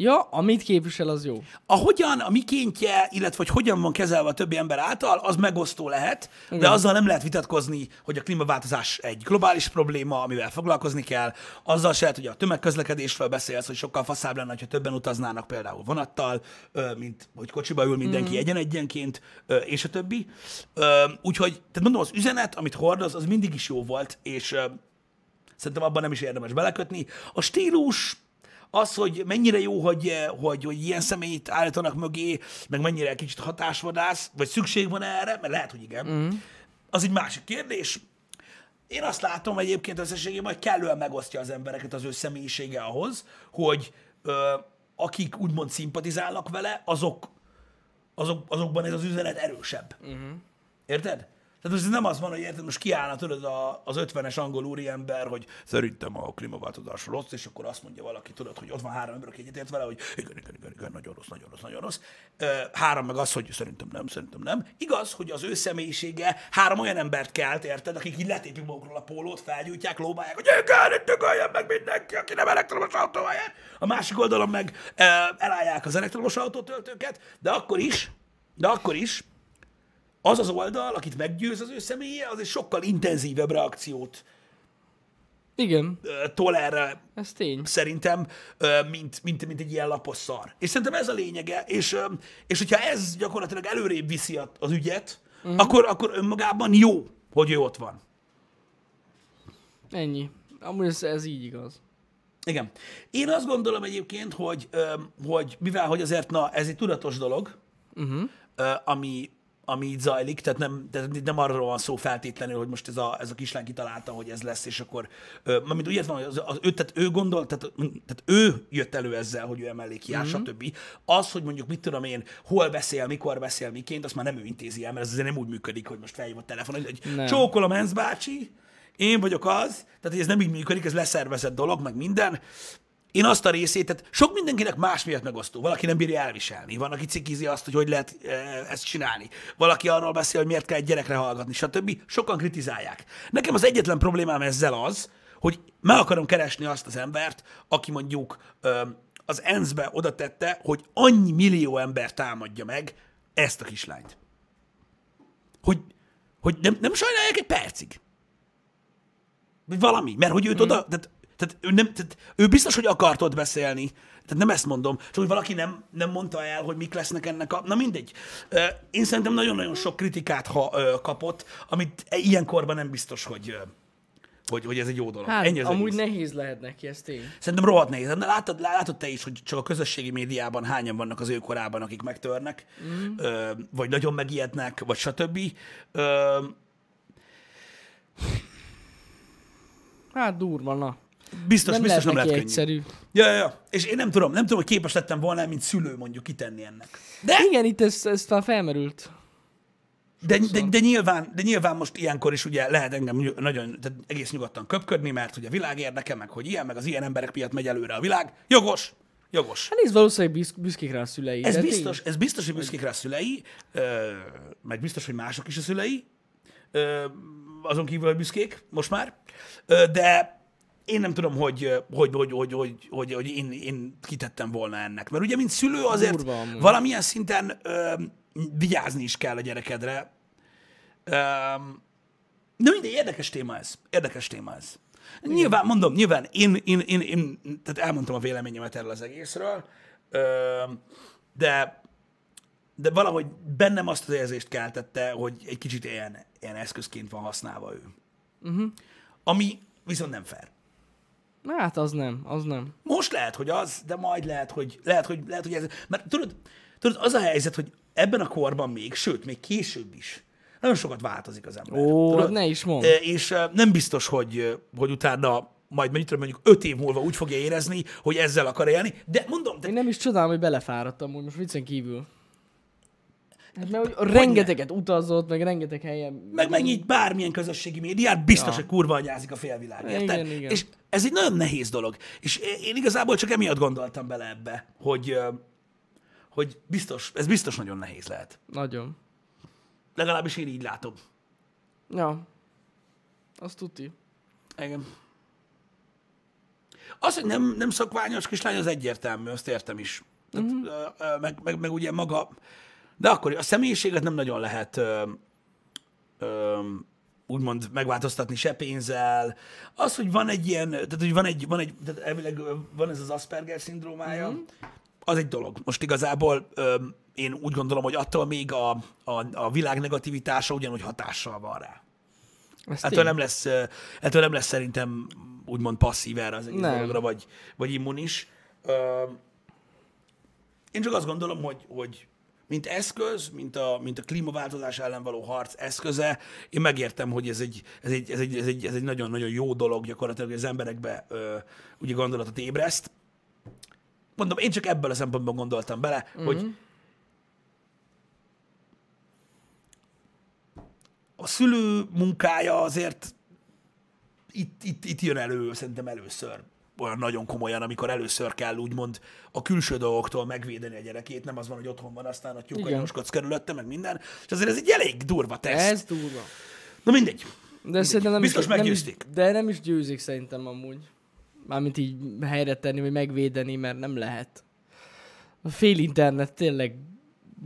Speaker 2: Ja, amit képvisel, az jó.
Speaker 1: A hogyan, a mikéntje, illetve hogy hogyan van kezelve a többi ember által, az megosztó lehet, Igen. de azzal nem lehet vitatkozni, hogy a klímaváltozás egy globális probléma, amivel foglalkozni kell. Azzal se lehet, hogy a tömegközlekedésről beszélsz, hogy sokkal faszább lenne, ha többen utaznának például vonattal, ö, mint hogy kocsiba ül mindenki mm. egyen-egyenként, ö, és a többi. Ö, Úgyhogy, tehát mondom, az üzenet, amit hordoz, az mindig is jó volt, és ö, szerintem abban nem is érdemes belekötni. A stílus, az, hogy mennyire jó, hogy, eh, hogy, hogy ilyen személyt állítanak mögé, meg mennyire kicsit hatásvadász, vagy szükség van erre, mert lehet, hogy igen. Mm. Az egy másik kérdés. Én azt látom egyébként összességében, hogy kellően megosztja az embereket az ő személyisége ahhoz, hogy ö, akik úgymond szimpatizálnak vele, azok, azok, azokban ez az üzenet erősebb. Érted? Tehát most ez nem az van, hogy érted, most kiállna tőled a, az 50-es angol úriember, hogy szerintem a klímaváltozás rossz, és akkor azt mondja valaki, tudod, hogy ott van három ember, aki egyetért vele, hogy igen, igen, igen, igen, nagyon rossz, nagyon rossz, nagyon rossz. Ö, három meg az, hogy szerintem nem, szerintem nem. Igaz, hogy az ő személyisége három olyan embert kelt, érted, akik így letépik magukról a pólót, felgyújtják, lóbálják, hogy igen, itt ögöljön meg mindenki, aki nem elektromos autójár. A másik oldalon meg ö, elállják az elektromos autótöltőket, de akkor is, de akkor is, az az oldal, akit meggyőz az ő személye, az egy sokkal intenzívebb reakciót
Speaker 2: Igen,
Speaker 1: ö, tol erre
Speaker 2: ez tény.
Speaker 1: szerintem, ö, mint, mint, mint egy ilyen lapos szar. És szerintem ez a lényege, és, ö, és hogyha ez gyakorlatilag előrébb viszi a- az ügyet, akkor, akkor önmagában jó, hogy ő ott van.
Speaker 2: Ennyi. Amúgy ez, ez így igaz.
Speaker 1: Igen. Én azt gondolom egyébként, hogy, öm, hogy mivel, hogy azért, na, ez egy tudatos dolog, uh-huh. ami, ami így zajlik, tehát nem, tehát itt nem arról van szó feltétlenül, hogy most ez a, ez a kislány kitalálta, hogy ez lesz, és akkor, ö, mármint úgy értem, hogy az, az, ő, tehát ő gondol, tehát, tehát ő jött elő ezzel, hogy ő emellé kiáll, uh-huh. stb. Az, hogy mondjuk mit tudom én, hol beszél, mikor beszél, miként, azt már nem ő intézi el, mert ez azért nem úgy működik, hogy most felhív a telefon, hogy, hogy
Speaker 2: Nem.
Speaker 1: csókol a menz bácsi, én vagyok az, tehát hogy ez nem így működik, ez leszervezett dolog, meg minden. Én azt a részét, tehát sok mindenkinek más miatt megosztó. Valaki nem bírja elviselni, van, aki cikizi azt, hogy hogy lehet e, ezt csinálni. Valaki arról beszél, hogy miért kell egy gyerekre hallgatni, stb. Sokan kritizálják. Nekem az egyetlen problémám ezzel az, hogy meg akarom keresni azt az embert, aki mondjuk ö, az ENSZ-be oda tette, hogy annyi millió ember támadja meg ezt a kislányt hogy, hogy nem, nem sajnálják egy percig. Vagy valami, mert hogy
Speaker 2: Mm.
Speaker 1: őt oda, tehát, tehát, ő nem, tehát ő biztos, hogy akart ott beszélni, tehát nem ezt mondom, csak hogy valaki nem, nem mondta el, hogy mik lesznek ennek a... Na mindegy. Ö, Én szerintem nagyon-nagyon sok kritikát ha, ö, kapott, amit ilyenkorban nem biztos, hogy, ö, hogy, hogy ez egy jó dolog.
Speaker 2: Hát,
Speaker 1: Ennyi
Speaker 2: Ennyi
Speaker 1: az
Speaker 2: amúgy
Speaker 1: egész.
Speaker 2: nehéz lehet neki, ez tény.
Speaker 1: Szerintem rohadt nehéz. De látod, látod te is, hogy csak a közösségi médiában hányan vannak az ő korában, akik megtörnek, mm. ö, vagy nagyon megijednek, vagy stb. Ö,
Speaker 2: Hát durva, na.
Speaker 1: biztos,
Speaker 2: nem
Speaker 1: biztos
Speaker 2: lehet
Speaker 1: nem
Speaker 2: neki
Speaker 1: lehet könnyű.
Speaker 2: egyszerű.
Speaker 1: Ja, ja, ja, és én nem tudom, nem tudom, hogy képes lettem volna, mint szülő mondjuk kitenni ennek. De,
Speaker 2: Igen, itt ez, ez már felmerült.
Speaker 1: de, de, de, nyilván, de nyilván most ilyenkor is ugye lehet engem ny- nagyon, tehát egész nyugodtan köpködni, mert ugye a világ érdeke, meg hogy ilyen, meg az ilyen emberek miatt megy előre a világ. Jogos, jogos.
Speaker 2: Hát nézd, valószínűleg büsz, büszkék rá a szülei.
Speaker 1: Ez
Speaker 2: de tény.
Speaker 1: biztos, ez biztos, hogy büszkék rá a szülei, ö, meg biztos, hogy mások is a szülei, ö, azon kívül, hogy büszkék most már, ö, de én nem tudom, hogy, ö, hogy, hogy, hogy, hogy, hogy, hogy én, én kitettem volna ennek. Mert ugye, mint szülő azért
Speaker 2: Durva amúgy.
Speaker 1: valamilyen szinten ö, vigyázni is kell a gyerekedre. Ö, de mindegy, érdekes téma ez. Érdekes téma ez. Nyilván, mondom, nyilván én, én, én, én tehát elmondtam a véleményemet erről az egészről, ö, de, de valahogy bennem azt az érzést keltette, hogy egy kicsit ilyen, ilyen eszközként van használva ő. Uh-huh.
Speaker 2: Mhm.
Speaker 1: Ami viszont nem fair.
Speaker 2: Na, Hát az nem, az nem.
Speaker 1: Most lehet, hogy az, de majd lehet, hogy lehet, hogy, lehet, hogy ez. Mert tudod, tudod, az a helyzet, hogy ebben a korban még, sőt, még később is, nagyon sokat változik az ember.
Speaker 2: Ó, hát
Speaker 1: tudod?
Speaker 2: ne is mondd.
Speaker 1: Ö, És ö, nem biztos, hogy, ö, hogy utána majd mondjuk, mondjuk öt év múlva úgy fogja érezni, hogy ezzel akar élni, de mondom,
Speaker 2: Én
Speaker 1: de
Speaker 2: nem is csodálom, hogy belefáradtam, hogy most viccen kívül. Hát mert hogy rengeteget utazott, meg rengeteg helyen.
Speaker 1: meg megnyit bármilyen közösségi médiát, biztos,
Speaker 2: Ja.
Speaker 1: hogy kurva anyázik a félvilág, érted?
Speaker 2: Igen, igen.
Speaker 1: És ez egy nagyon nehéz dolog. És én igazából csak emiatt gondoltam bele ebbe, hogy, ö, hogy biztos, ez biztos nagyon nehéz lehet.
Speaker 2: Nagyon.
Speaker 1: Legalábbis én így látom.
Speaker 2: Ja. Azt tuti.
Speaker 1: Igen. Az, hogy nem, nem szokványos kislány, az egyértelmű, azt értem is. Tehát, ö, ö, meg, meg, meg ugye maga... De akkor a személyiséget nem nagyon lehet ö, ö, úgymond megváltoztatni se pénzzel. Az, hogy van egy ilyen, tehát hogy van egy, van egy tehát elvileg ö, van ez az Asperger szindrómája, mm. az egy dolog. Most igazából ö, én úgy gondolom, hogy attól még a, a, a világ negativitása ugyanúgy hatással van rá.
Speaker 2: Ez
Speaker 1: Ettől
Speaker 2: tény.
Speaker 1: nem, lesz, ö, ettől nem lesz szerintem úgymond passzív erre az egész
Speaker 2: Nem.
Speaker 1: dologra, vagy, vagy immunis. Ö, Én csak azt gondolom, hogy, hogy mint eszköz, mint a, mint a klímaváltozás ellen való harc eszköze, én megértem, hogy ez egy, ez egy, ez egy, ez egy, ez egy nagyon-nagyon jó dolog gyakorlatilag, hogy az emberekbe ö, ugye gondolatot ébreszt. Mondom, én csak ebből a szempontból gondoltam bele,
Speaker 2: Mhm.
Speaker 1: hogy a szülő munkája azért itt, itt, itt jön elő, szerintem először olyan nagyon komolyan, amikor először kell úgymond a külső dolgoktól megvédeni a gyerekét, nem az van, hogy otthon van, aztán a tyúk a
Speaker 2: Igen.
Speaker 1: nyomskodsz körülötte, meg minden, és azért ez egy elég durva teszt.
Speaker 2: Ez
Speaker 1: Ez...
Speaker 2: durva.
Speaker 1: Na mindegy.
Speaker 2: De szerintem nem
Speaker 1: Biztos
Speaker 2: is, nem is,
Speaker 1: meggyőzték.
Speaker 2: De nem is győzik szerintem amúgy. Mármint így helyre tenni, vagy megvédeni, mert nem lehet. A fél internet tényleg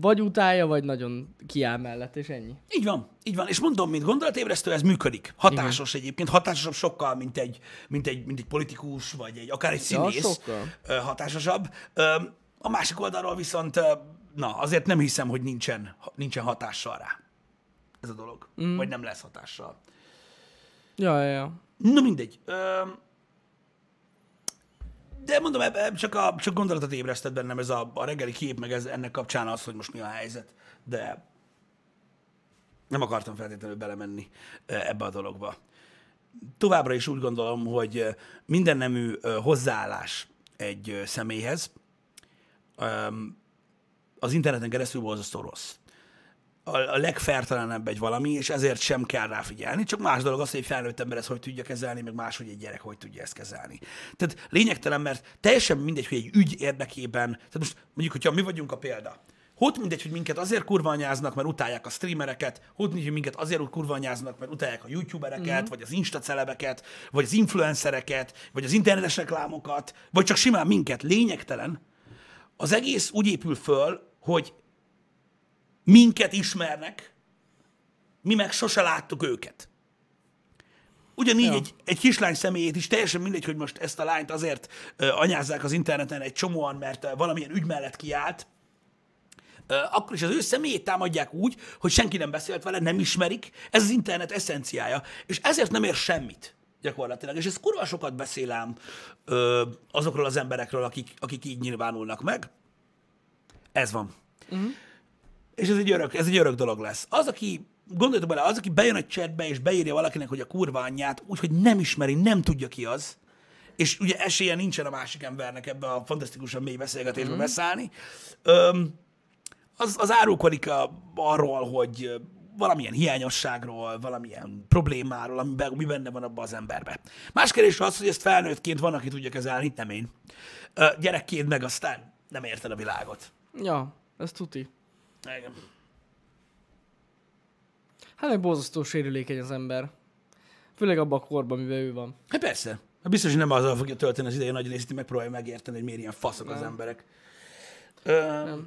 Speaker 2: vagy utálja, vagy nagyon kiáll mellett, és ennyi.
Speaker 1: Így van, így van. És mondom, mint gondolatébresztő, ez működik. Hatásos Igen. egyébként, hatásosabb sokkal, mint egy, mint egy, mint egy politikus, vagy egy, akár egy
Speaker 2: Ja,
Speaker 1: színész.
Speaker 2: sokkal.
Speaker 1: ö, hatásosabb. Ö, A másik oldalról viszont, ö, na, azért nem hiszem, hogy nincsen, nincsen hatással rá ez a dolog. Mm. Vagy nem lesz hatással.
Speaker 2: Ja, ja, ja.
Speaker 1: Na mindegy. Öm, De mondom, eb- eb- csak, a, csak gondolatot ébresztett bennem ez a, a reggeli kép, meg ez, ennek kapcsán az, hogy most mi a helyzet. De nem akartam feltétlenül belemenni ö, ebbe a dologba. Továbbra is úgy gondolom, hogy ö, minden nemű ö, hozzáállás egy ö, személyhez öm, az interneten keresztül borzasztó rossz a, a legfertelenebb egy valami, és ezért sem kell rá figyelni. Csak más dolog az, hogy egy felnőtt ember ezt hogy tudja kezelni, meg más, hogy egy gyerek hogy tudja ezt kezelni. Tehát lényegtelen, mert teljesen mindegy, hogy egy ügy érdekében, tehát most mondjuk, hogyha mi vagyunk a példa, Hót mindegy, hogy minket azért kurvanyáznak, mert utálják a streamereket, hót mindegy, hogy minket azért kurvanyáznak, mert utálják a youtubereket, mm. vagy az instacelebeket, vagy az influencereket, vagy az internetes reklámokat, vagy csak simán minket. Lényegtelen. Az egész úgy épül föl, hogy minket ismernek, mi meg sose láttuk őket. Ugyanígy ja. egy, egy kislány személyét is teljesen mindegy, hogy most ezt a lányt azért ö, anyázzák az interneten egy csomóan, mert ö, valamilyen ügy mellett kiállt, ö, akkor is az ő személyét támadják úgy, hogy senki nem beszélt vele, nem ismerik. Ez az internet eszenciája, és ezért nem ér semmit gyakorlatilag. És ez kurva sokat beszélem ö, azokról az emberekről, akik, akik így nyilvánulnak meg. Ez van. És ez egy örök, ez egy örök dolog lesz. Az, aki, gondoljatok bele, az, aki bejön egy chatbe és beírja valakinek, hogy a kurva anyját, úgyhogy nem ismeri, nem tudja ki az, és ugye esélye nincsen a másik embernek ebbe a fantasztikusan mély beszélgetésbe mm. beszállni, öm, az, az árulkodik a, arról, hogy ö, valamilyen hiányosságról, valamilyen problémáról, amiben, mi benne van abban az emberben. Más kérdés az, hogy ezt felnőttként van, aki tudja kezelni, nem én. Ö, Gyerekként meg aztán nem érted a világot.
Speaker 2: Ja, ez tuti.
Speaker 1: Igen.
Speaker 2: Hát meg borzasztó sérülékeny az ember. Főleg abban a korban, amiben ő van.
Speaker 1: Hát persze. Hát Biztos, hogy nem azzal fogja tölteni az idején nagy részt, hogy megpróbálja megérteni, hogy miért ilyen faszok nem. az emberek. Ö... Nem.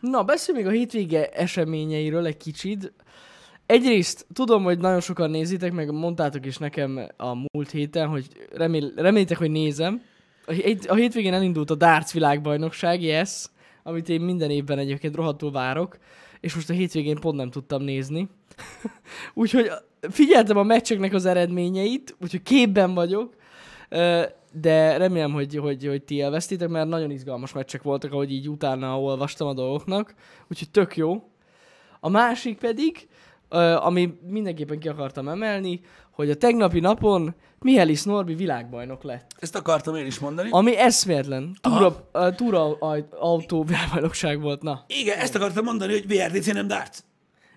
Speaker 2: Na, beszéljünk még a hétvége eseményeiről egy kicsit. Egyrészt tudom, hogy nagyon sokan nézitek, meg mondtátok is nekem a múlt héten, hogy remél, remélitek, hogy nézem. A, hét, a hétvégén elindult a darts világbajnokság, yes, amit én minden évben egyébként rohadtul várok, és most a hétvégén pont nem tudtam nézni. úgyhogy figyeltem a meccseknek az eredményeit, úgyhogy képben vagyok, Ö, de remélem, hogy, hogy, hogy ti elvesztitek, mert nagyon izgalmas meccsek voltak, ahogy így utána olvastam a dolgoknak, úgyhogy tök jó. A másik pedig, ö, ami mindenképpen ki akartam emelni, hogy a tegnapi napon Mihelis Norbi világbajnok lett.
Speaker 1: Ezt akartam én is mondani. A...
Speaker 2: Ami eszméletlen. Túra, ö, túra aj- autó világbajnokság volt, na.
Speaker 1: Igen, ezt akartam mondani, hogy VRDC nem darts.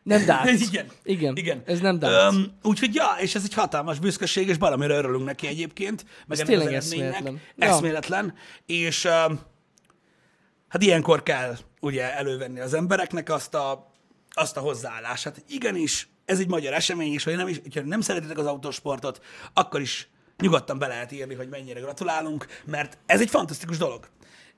Speaker 2: Nem darts.
Speaker 1: Igen.
Speaker 2: Igen.
Speaker 1: Igen.
Speaker 2: Ez nem darts.
Speaker 1: Öm, úgyhogy ja, és ez egy hatalmas büszkeség, és valamire örülünk neki egyébként. Meg ennek
Speaker 2: tényleg
Speaker 1: az eredménynek.
Speaker 2: eszméletlen. Ja.
Speaker 1: Eszméletlen. És öm, hát ilyenkor kell ugye elővenni az embereknek azt a, azt a hozzáállását. Igenis, ez egy magyar esemény, és hogy nem is, hogyha nem szeretitek az autósportot, akkor is nyugodtan be lehet írni, hogy mennyire gratulálunk, mert ez egy fantasztikus dolog.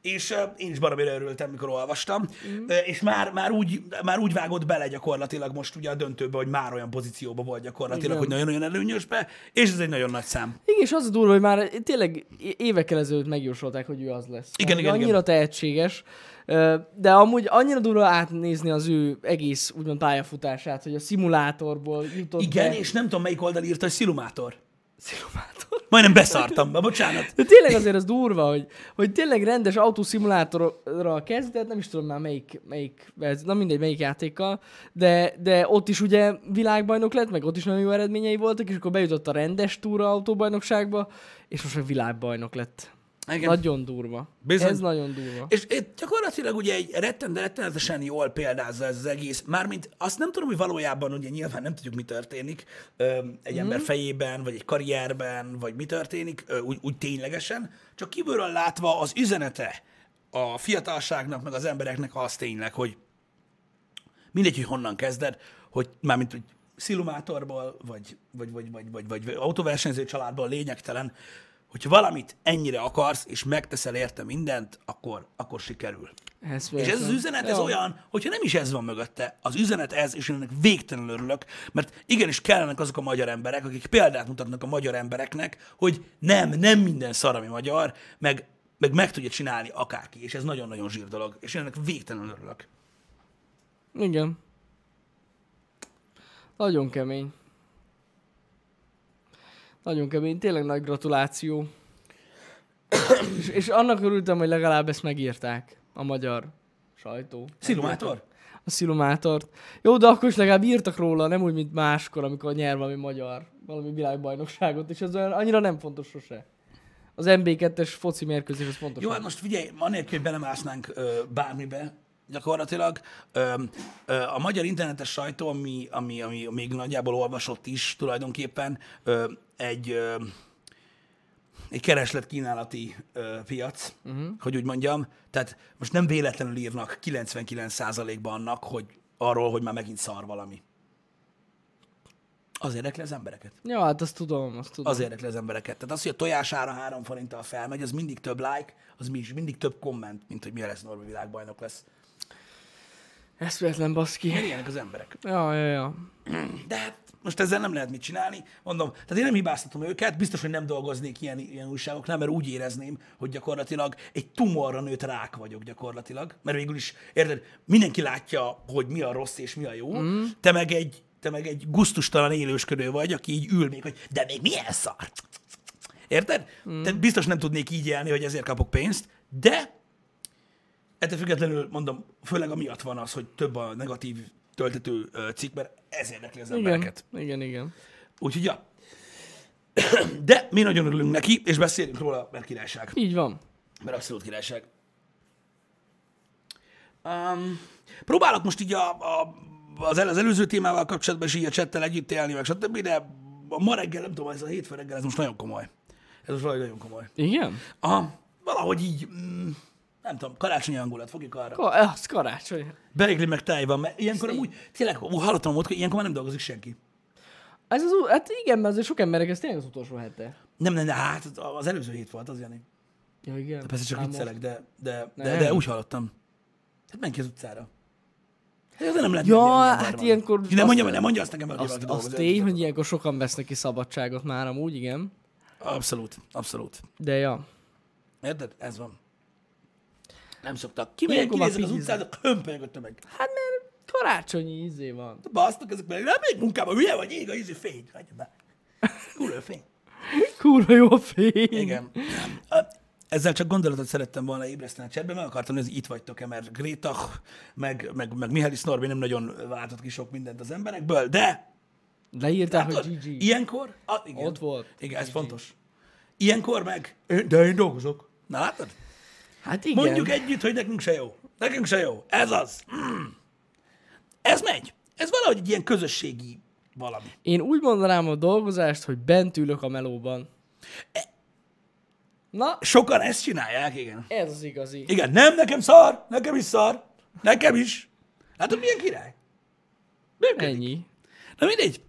Speaker 1: És ö, én is baromira örültem, mikor olvastam, mm. és már, már, úgy, már úgy vágott bele gyakorlatilag most ugye a döntőbe, hogy már olyan pozícióba volt gyakorlatilag, Igen.
Speaker 2: Igen.
Speaker 1: hogy nagyon-nagyon előnyösbe, és ez egy nagyon nagy szám.
Speaker 2: Igen, és az a durva, hogy már tényleg é- évekkel ezelőtt megjósolták, hogy ő az lesz.
Speaker 1: Igen,
Speaker 2: Tehát
Speaker 1: igen,
Speaker 2: Annyira
Speaker 1: igen.
Speaker 2: tehetséges, ö, de amúgy annyira durva átnézni az ő egész úgymond pályafutását, hogy a szimulátorból jutott
Speaker 1: Igen,
Speaker 2: be.
Speaker 1: és nem tudom, melyik oldal írta, hogy szilumátor.
Speaker 2: Szimulátor.
Speaker 1: Majdnem beszartam be, bocsánat.
Speaker 2: De tényleg azért az durva, hogy, hogy tényleg rendes autószimulátorra kezdett, nem is tudom már melyik, melyik verz- na mindegy, melyik játékkal, de, de ott is ugye világbajnok lett, meg ott is nagyon jó eredményei voltak, és akkor bejutott a rendes túra autóbajnokságba, és most meg világbajnok lett.
Speaker 1: Igen.
Speaker 2: Nagyon durva.
Speaker 1: Bizony.
Speaker 2: Ez nagyon durva.
Speaker 1: És itt gyakorlatilag ugye egy retten, rettenetesen jól példázza ez az egész. Mármint azt nem tudom, hogy valójában ugye nyilván nem tudjuk, mi történik öm, egy ember fejében, vagy egy karrierben, vagy mi történik, ö, úgy, úgy ténylegesen. Csak kívülről látva az üzenete a fiatalságnak, meg az embereknek az tényleg, hogy mindegy, hogy honnan kezded, hogy mármint, hogy szilumátorból, vagy, vagy, vagy, vagy, vagy, vagy, vagy autóversenyző családból lényegtelen, hogyha valamit ennyire akarsz, és megteszel érte mindent, akkor, akkor sikerül.
Speaker 2: Ez
Speaker 1: És ez az
Speaker 2: véletlen.
Speaker 1: üzenet, ez
Speaker 2: Ja.
Speaker 1: olyan, hogyha nem is ez van mögötte, az üzenet ez, és én ennek végtelenül örülök, mert igenis kellenek azok a magyar emberek, akik példát mutatnak a magyar embereknek, hogy nem, nem minden szar, ami magyar, meg, meg meg tudja csinálni akárki, és ez nagyon-nagyon zsír dolog, és én ennek végtelenül örülök.
Speaker 2: Igen. Nagyon kemény. Nagyon kemény, tényleg nagy gratuláció. és, és annak örültem, hogy legalább ezt megírták a magyar sajtó.
Speaker 1: Szilumátor?
Speaker 2: A szilumátort. Jó, de akkor is legalább írtak róla, nem úgy, mint máskor, amikor nyer valami magyar, valami világbajnokságot, és ez olyan annyira nem fontos sose. Az MB2-es foci mérkőzés, az fontos.
Speaker 1: Jó, hát most figyelj, anélkül, hogy belemásznánk ö, bármibe, gyakorlatilag ö, ö, a magyar internetes sajtó, ami, ami, ami még nagyjából olvasott is tulajdonképpen, ö, egy, ö, egy kereslet-kínálati ö, piac, uh-huh. hogy úgy mondjam. Tehát most nem véletlenül írnak 99%-ban annak, hogy arról, hogy már megint szar valami. Az érdekli az embereket
Speaker 2: Ja, hát azt tudom, azt tudom.
Speaker 1: az érdekli az embereket. Tehát az, hogy a tojására három forinttal felmegy, az mindig több like, az mi is mindig több komment, mint hogy mi lesz Norbi világbajnok lesz.
Speaker 2: Ez véletlen baszki.
Speaker 1: Mert ilyenek az emberek.
Speaker 2: Ja, ja, ja.
Speaker 1: De hát most ezzel nem lehet mit csinálni. Mondom, tehát én nem hibáztatom őket, biztos, hogy nem dolgoznék ilyen, ilyen újságoknál, mert úgy érezném, hogy gyakorlatilag egy tumorra nőtt rák vagyok gyakorlatilag. Mert végül is, érted, mindenki látja, hogy mi a rossz és mi a jó, mm. te meg egy te meg egy guztustalan élősködő vagy, aki így ül még, hogy de még milyen szar. Érted? Mm. Tehát biztos nem tudnék így élni, hogy ezért kapok pénzt, de ettől függetlenül mondom, főleg amiatt van az, hogy több a negatív töltető ö, cikk, mert ez érdekli az
Speaker 2: Igen,
Speaker 1: embereket.
Speaker 2: igen, igen.
Speaker 1: Úgyhogy ja. De mi nagyon örülünk neki, és beszélünk róla, mert királyság.
Speaker 2: Így van.
Speaker 1: Mert abszolút királyság. Um, próbálok most így a, a, az, el, az előző témával kapcsolatban is így a csettel együtt élni, meg stb., de a ma reggel, nem tudom, ez a hétfő reggel, ez most nagyon komoly. Ez most valami nagyon komoly.
Speaker 2: Igen?
Speaker 1: Aha, valahogy így, mm, nem tudom, karácsonyi hangulat, fogjuk arra.
Speaker 2: Ka- az karácsony.
Speaker 1: Beigli meg tej van, mert ilyenkor amúgy, tényleg, ú, hallottam ott, hogy ilyenkor már nem dolgozik senki.
Speaker 2: Ez az, u- hát igen, mert azért sok emberek ez tényleg az utolsó hete.
Speaker 1: Nem, nem, nem, hát az előző hét volt, az Jani.
Speaker 2: Ja, igen.
Speaker 1: Persze csak
Speaker 2: Ám most-
Speaker 1: viccelek, de, de, de,
Speaker 2: Nem.
Speaker 1: de, úgy hallottam. Hát menj ki az utcára. Hát ez nem lehet.
Speaker 2: Ja,
Speaker 1: menni, ilyen ember
Speaker 2: hát
Speaker 1: van.
Speaker 2: ilyenkor
Speaker 1: Ne
Speaker 2: azt-
Speaker 1: mondja, mert nem mondja azt nekem, hogy
Speaker 2: Azt,
Speaker 1: valaki
Speaker 2: azt
Speaker 1: dolgozik.
Speaker 2: tény, hogy ilyenkor sokan vesznek ki szabadságot már amúgy, igen.
Speaker 1: Abszolút, abszolút.
Speaker 2: De ja.
Speaker 1: Érted? Ez van. Nem szoktak. Ki megy,
Speaker 2: Ilyenkor már
Speaker 1: kinézek az
Speaker 2: pihiznek.
Speaker 1: utcára, kömpölyög a tömeg.
Speaker 2: Hát mert karácsonyi izé van.
Speaker 1: Basznak Hát ezek meg, nem még munkában, hülye vagy, ég a ízű fény. Hagyja be. Kurva fény.
Speaker 2: Kurva jó a fény.
Speaker 1: Igen. Ö, Ezzel csak gondolatot szerettem volna ébreszteni a csetben, meg akartam, hogy itt vagytok-e, mert Gréta, meg, meg, meg Mihály Norbi nem nagyon váltott ki sok mindent az emberekből, de
Speaker 2: Leírtál,
Speaker 1: tudod,
Speaker 2: hogy GG.
Speaker 1: ilyenkor, a, igen,
Speaker 2: Ott volt.
Speaker 1: Igen, ez fontos. Ilyenkor meg, én- de én dolgozok. Na látod?
Speaker 2: Hát igen.
Speaker 1: Mondjuk együtt, hogy nekünk se jó. Nekünk se jó. Ez az. Mm. Ez megy. Ez valahogy egy ilyen közösségi valami.
Speaker 2: Én úgy mondanám a dolgozást, hogy bent ülök a melóban.
Speaker 1: E-
Speaker 2: Na,
Speaker 1: Sokan ezt csinálják, igen.
Speaker 2: ez az igazi.
Speaker 1: Igen, nem, nekem szar, nekem is szar, nekem is. Látod, milyen király? Működik.
Speaker 2: Ennyi.
Speaker 1: Na mindegy,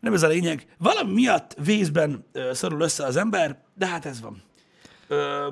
Speaker 1: nem ez a lényeg. Valami miatt vészben ö, szorul össze az ember, de hát ez van. Ö,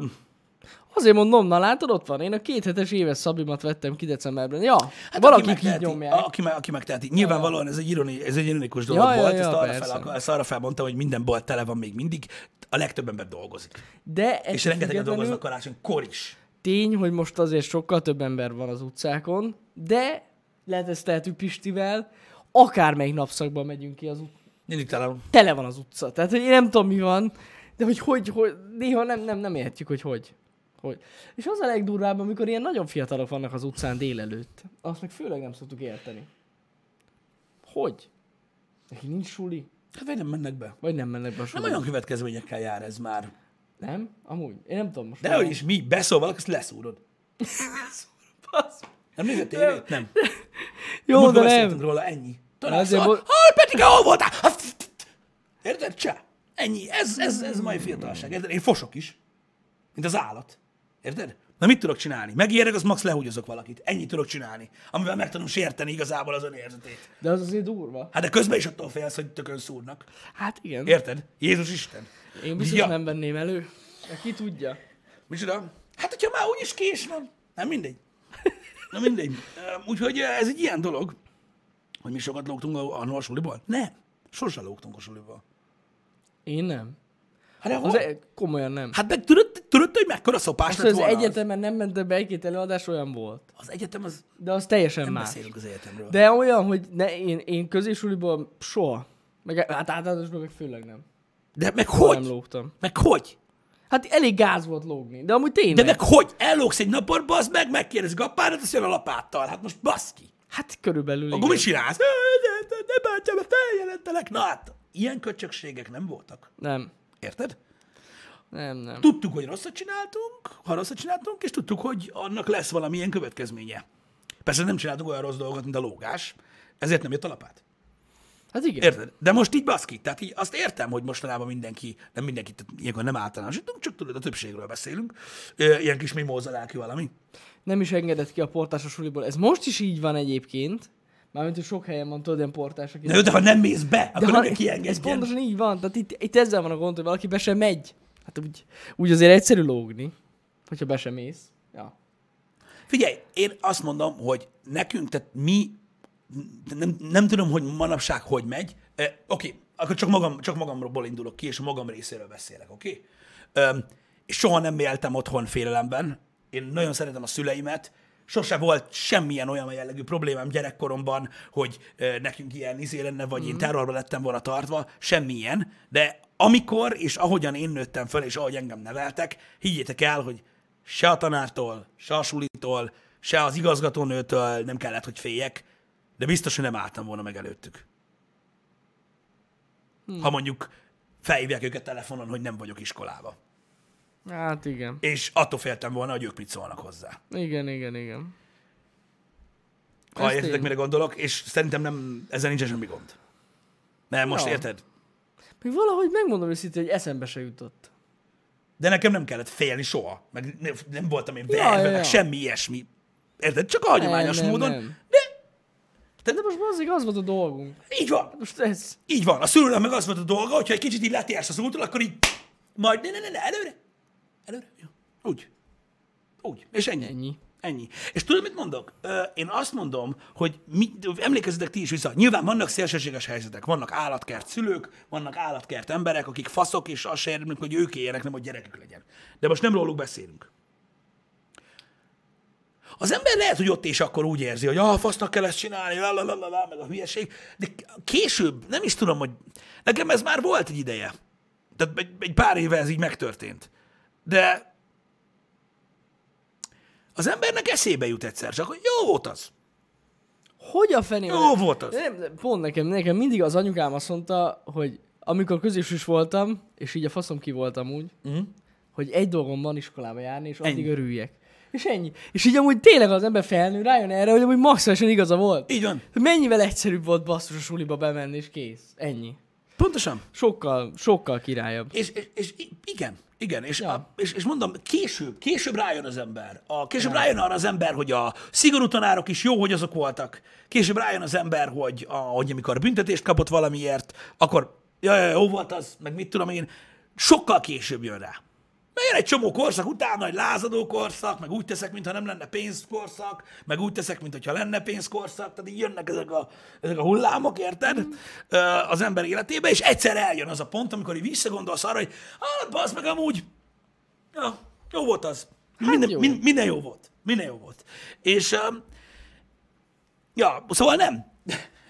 Speaker 2: Azért mondom, na látod, ott van. Én a két hetes éves szabimat vettem ki decemberben. Ja, hát
Speaker 1: hát
Speaker 2: valaki így
Speaker 1: megteheti,
Speaker 2: nyomják.
Speaker 1: a- Aki, me- aki megteheti. Nyilvánvalóan ez egy, ironi, ez egy ironikus dolog
Speaker 2: Ja, ja,
Speaker 1: volt,
Speaker 2: ja,
Speaker 1: ezt, arra fel,
Speaker 2: persze.
Speaker 1: akar- ezt arra felmondtam, hogy minden bolt tele van még mindig, a legtöbb ember dolgozik.
Speaker 2: De
Speaker 1: És rengetegen
Speaker 2: függetlenül
Speaker 1: dolgoznak karácsonykor is.
Speaker 2: Tény, hogy most azért sokkal több ember van az utcákon, de lehet ezt tehetünk Pistivel, akármelyik napszakban megyünk ki az ut-
Speaker 1: Mindig talán.
Speaker 2: Tele van az utca. Tehát hogy én nem tudom, mi van, de hogy hogy, hogy néha nem, nem, nem értjük, hogy hogy. hogy. És az a legdurvább, amikor ilyen nagyon fiatalok vannak az utcán délelőtt. Azt meg főleg nem szoktuk érteni. Hogy? Neki nincs suli?
Speaker 1: Hát vagy nem mennek be.
Speaker 2: Vagy nem mennek be a
Speaker 1: Nem
Speaker 2: suliba?
Speaker 1: olyan következményekkel jár ez már.
Speaker 2: Nem? Amúgy. Én nem tudom most.
Speaker 1: De hogy is mi, beszól valaki, azt leszúrod.
Speaker 2: Basz.
Speaker 1: Nem nézett tévét? Nem.
Speaker 2: Jó,
Speaker 1: Múltkor
Speaker 2: de nem.
Speaker 1: beszéltünk róla, ennyi.
Speaker 2: Azért
Speaker 1: Tanácsal,
Speaker 2: bo-
Speaker 1: hol Petike, hol voltál? Érted? Csá. Ennyi. Ez, ez, ez mai fiatalság. Érted? Én fosok is. Mint az állat. Érted? Na mit tudok csinálni? Megérek, az max lehúgyozok valakit. Ennyit tudok csinálni. Amivel meg tudom sérteni igazából az önérzetét.
Speaker 2: De az azért durva.
Speaker 1: Hát de közben is attól félsz, hogy tökön szúrnak.
Speaker 2: Hát igen.
Speaker 1: Érted? Jézus Isten.
Speaker 2: Én biztos
Speaker 1: Ja.
Speaker 2: nem venném elő. De ki tudja.
Speaker 1: Micsoda? Hát, hogyha már úgyis kés van. Nem mindegy. Na mindegy. Öm, Úgyhogy ez egy ilyen dolog, hogy mi sokat lógtunk a, a suliból. Nem. Sose lógtunk a suliból.
Speaker 2: Én nem.
Speaker 1: Hát, de hol?
Speaker 2: Az e- komolyan nem.
Speaker 1: hát meg tudod, tudod, hogy mekkora szopás
Speaker 2: Azt,
Speaker 1: lett
Speaker 2: hogy az
Speaker 1: volna az?
Speaker 2: egyetemen nem mentem be, egy-két előadás olyan volt.
Speaker 1: Az egyetem az...
Speaker 2: De az teljesen
Speaker 1: Nem
Speaker 2: más.
Speaker 1: beszélünk az egyetemről. De...
Speaker 2: De olyan, hogy ne, én, én közésuliból soha. Meg, hát általánosban meg főleg nem.
Speaker 1: De meg
Speaker 2: Nem
Speaker 1: hogy?
Speaker 2: lógtam.
Speaker 1: Meg hogy?
Speaker 2: Hát elég gáz volt lógni, de amúgy tényleg.
Speaker 1: De meg hogy? Ellógsz egy napon, bazd meg, megkérdezik apádat, azt jön a lapáttal. Hát most basz ki.
Speaker 2: Hát körülbelül
Speaker 1: Akkor mit csinálsz? Ne bántsam, feljelentelek. Na hát, ilyen köcsökségek nem voltak.
Speaker 2: Nem,
Speaker 1: Érted?
Speaker 2: nem, nem.
Speaker 1: tudtuk, hogy rosszat csináltunk, ha rosszat csináltunk, és tudtuk, hogy annak lesz valamilyen következménye. Persze nem csináltunk olyan rossz dolgot, mint a lógás, ezért nem jött a lapát.
Speaker 2: Hát igen.
Speaker 1: Érted? De most így baszki. Tehát így azt értem, hogy mostanában mindenki, nem mindenki, tehát ilyenkor nem általánosítunk, csak tudod, a többségről beszélünk. Ö, Ilyen kis mimóza lelkű valami.
Speaker 2: Nem is engedett ki a portás a suliból. Ez most is így van egyébként. Mármint, hogy sok helyen van, tudod, ilyen portás, aki...
Speaker 1: Na jó, de ha nem mész be, akkor
Speaker 2: ha-
Speaker 1: nem
Speaker 2: Ez
Speaker 1: kiengedjen.
Speaker 2: pontosan így van. Tehát itt, itt ezzel van a gond, hogy valaki be sem megy. Hát úgy, úgy azért egyszerű lógni, hogyha be sem mész. Ja.
Speaker 1: Figyelj, én azt mondom, hogy nekünk, tehát mi, nem, nem tudom, hogy manapság hogy megy. Eh, oké, okay, akkor csak, magam, csak magamról indulok ki, és a magam részéről beszélek, oké? Okay? És soha nem éltem otthon félelemben. Én nagyon szeretem a szüleimet. Sose volt semmilyen olyan jellegű problémám gyerekkoromban, hogy eh, nekünk ilyen izé lenne, vagy mm. én terrorba lettem volna tartva. Semmilyen. De amikor és ahogyan én nőttem fel, és ahogy engem neveltek, higgyétek el, hogy se a tanártól, se a sulitól, se az igazgatónőtől nem kellett, hogy féljek, de biztos, hogy nem álltam volna meg előttük. Hmm. Ha mondjuk felhívják őket telefonon, hogy nem vagyok iskolába.
Speaker 2: Hát igen.
Speaker 1: És attól féltem volna, hogy ők mit szólnak hozzá.
Speaker 2: Igen, igen, igen.
Speaker 1: Ha
Speaker 2: Ez
Speaker 1: értitek,
Speaker 2: tény.
Speaker 1: mire gondolok, és szerintem nem, ezzel nincsen semmi gond. Nem, most
Speaker 2: Ja.
Speaker 1: érted?
Speaker 2: Még valahogy megmondom őszintén, hogy eszembe se jutott.
Speaker 1: De nekem nem kellett félni soha. Meg ne- nem voltam én
Speaker 2: Ja,
Speaker 1: verve,
Speaker 2: ja,
Speaker 1: meg
Speaker 2: ja.
Speaker 1: semmi ilyesmi. Érted? Csak a hagyományos
Speaker 2: Nem, nem,
Speaker 1: módon.
Speaker 2: nem.
Speaker 1: De
Speaker 2: De most azért az volt a dolgunk.
Speaker 1: így van.
Speaker 2: Most ez...
Speaker 1: Így van, a szülőnek meg az volt a dolga, hogyha egy kicsit így letérsz az útról, akkor így majd ne, ne, ne, ne előre, előre, jó. Úgy. Úgy. És ennyi.
Speaker 2: Ennyi.
Speaker 1: Ennyi. És tudod, mit mondok? Ö, Én azt mondom, hogy mi, emlékezzetek ti is vissza. Nyilván vannak szélsőséges helyzetek. Vannak állatkert szülők, vannak állatkert emberek, akik faszok, és azt se érdemlik, hogy ők éljenek, nem hogy gyerekük legyen. De most nem róluk beszélünk. Az ember lehet, hogy ott és akkor úgy érzi, hogy ah, fasznak kell ezt csinálni, la, la, la, la, la, meg a hülyeség, de k- később nem is tudom, hogy nekem ez már volt egy ideje. Tehát egy, egy pár éve ez így megtörtént. De az embernek eszébe jut egyszer csak, hogy jó volt az.
Speaker 2: Hogy a feném?
Speaker 1: Jó volt az.
Speaker 2: Nem, nem, pont nekem, nekem mindig az anyukám azt mondta, hogy amikor közös is voltam, és így a faszom ki voltam úgy, mm. hogy egy dolgom van iskolába járni, és addig
Speaker 1: Mhm. Ennyi.
Speaker 2: örüljek. És ennyi. És így amúgy tényleg az ember felnő, rájön erre, hogy amúgy maximálisan igaza volt.
Speaker 1: Így van.
Speaker 2: Mennyivel egyszerűbb volt basszus a suliba bemenni, és kész. Ennyi.
Speaker 1: Pontosan.
Speaker 2: Sokkal, sokkal királyabb.
Speaker 1: És, és, és i- igen, igen, és,
Speaker 2: Ja.
Speaker 1: a, és, és mondom, később, később rájön az ember. A, később rájön arra az ember, hogy a szigorú tanárok is jó, hogy azok voltak. Később rájön az ember, hogy, a, hogy amikor büntetést kapott valamiért, akkor jaj, jaj, jó volt az, meg mit tudom én. Sokkal később jön rá. Mert jön egy csomó korszak utána, egy lázadó korszak, meg úgy teszek, mintha nem lenne pénzkorszak, meg úgy teszek, mintha lenne pénzkorszak, tehát így jönnek ezek a, ezek a hullámok, érted?
Speaker 2: Mhm.
Speaker 1: Ö, Az ember életébe, és egyszer eljön az a pont, amikor így visszagondolsz arra, hogy hát bazd meg amúgy, ja, jó volt az. Minden
Speaker 2: Hát jó.
Speaker 1: jó. Min, minden jó volt. Minden jó volt. És, öm, ja, szóval nem.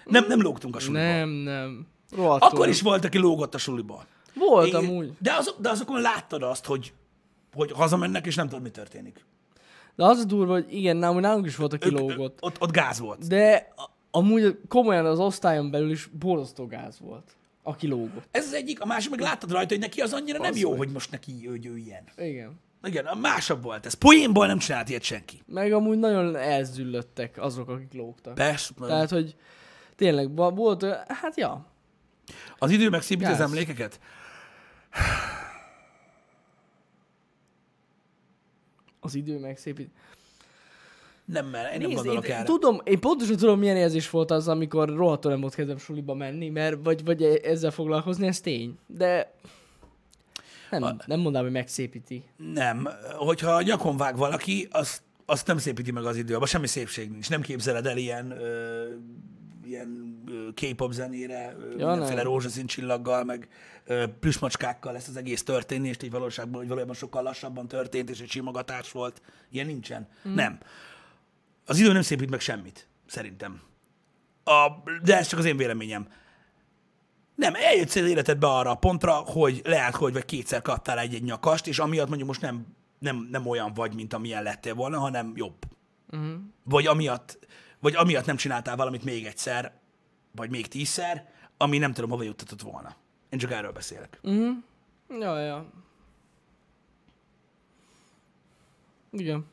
Speaker 1: Nem, nem lógtunk a suliba.
Speaker 2: Nem, nem. Rohadtul.
Speaker 1: Akkor is volt, aki lógott a suliba.
Speaker 2: Volt
Speaker 1: Én-
Speaker 2: amúgy.
Speaker 1: De, azok, de azokon láttad azt, hogy, hogy hazamennek, és nem tudod, mi történik.
Speaker 2: De az a durva, hogy igen, nálunk nálunk is volt, aki lógott.
Speaker 1: Ott, ott gáz volt.
Speaker 2: De a- amúgy komolyan az osztályon belül is borzasztó gáz volt. aki lógott.
Speaker 1: Ez az egyik, a másik meg láttad rajta, hogy neki az annyira nem
Speaker 2: Basz
Speaker 1: jó,
Speaker 2: meg.
Speaker 1: hogy most neki hogy ő ilyen.
Speaker 2: Igen.
Speaker 1: Igen, a másabb volt ez. Poénból nem csinált ilyet senki.
Speaker 2: Meg amúgy nagyon elzüllöttek azok, akik lógtak.
Speaker 1: Persze, Tehát...
Speaker 2: Tehát, hogy tényleg ba- volt, ö, hát ja,
Speaker 1: az idő megszépíti az
Speaker 2: Gáz.
Speaker 1: emlékeket.
Speaker 2: az idő megszépít.
Speaker 1: Nem, mert én nem
Speaker 2: Nézd,
Speaker 1: gondolok
Speaker 2: én
Speaker 1: erre.
Speaker 2: tudom, én pontosan tudom, milyen érzés volt az, amikor rohadtul nem volt kedvem suliba menni, mert vagy, vagy e- ezzel foglalkozni, ez tény. De nem, nem mondanám, hogy megszépíti.
Speaker 1: Nem, hogyha a nyakon vág valaki, azt, azt nem szépíti meg az idő, abban semmi szépség nincs. Nem képzeled el ilyen, ö, ilyen ö, K-pop zenére, ö,
Speaker 2: Ja,
Speaker 1: mindenféle
Speaker 2: nem.
Speaker 1: rózsaszín csillaggal, meg ö, plüsmacskákkal lesz az egész történés, így valóságban, hogy valójában sokkal lassabban történt, és egy simogatás volt. Ilyen nincsen. Mm. Nem. Az idő nem szépít meg semmit, szerintem. A, de ez csak az én véleményem. Nem, eljutsz az életedbe arra a pontra, hogy lehet, hogy vagy kétszer kaptál egy-egy nyakast, és amiatt mondjuk most nem, nem, nem olyan vagy, mint amilyen lettél volna, hanem jobb. Uh-huh. Vagy, amiatt, vagy amiatt nem csináltál valamit még egyszer, vagy még tízszer, ami nem tudom, hova juttatott volna. Én csak erről beszélek. Uh-huh.
Speaker 2: Ja, ja. Igen.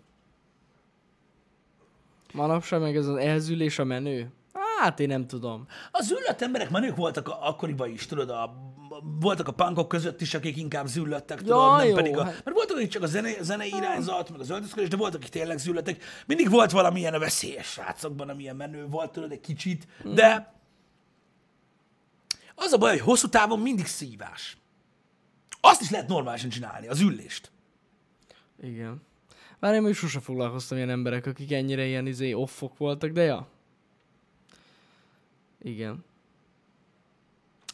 Speaker 2: Manapság meg ez az elzülés a menő. Hát én nem tudom.
Speaker 1: A züllött emberek menők voltak a, akkoriban is, tudod, a, voltak a punkok között is, akik inkább züllöttek, tudod,
Speaker 2: Ja,
Speaker 1: nem
Speaker 2: jó,
Speaker 1: pedig a,
Speaker 2: hát-
Speaker 1: mert voltak, akik csak a zene, zenei irányzat, meg az öltözködés, de voltak, akik tényleg zülletek. Mindig volt valamilyen a veszélyes srácokban, amilyen menő volt, tudod, egy kicsit,
Speaker 2: Mm.
Speaker 1: de az a baj, hogy hosszú távon mindig szívás. Azt is lehet normálisan csinálni, az üllést.
Speaker 2: Igen. Bár én még sose foglalkoztam ilyen emberek, akik ennyire ilyen izé offok voltak, de ja. Igen.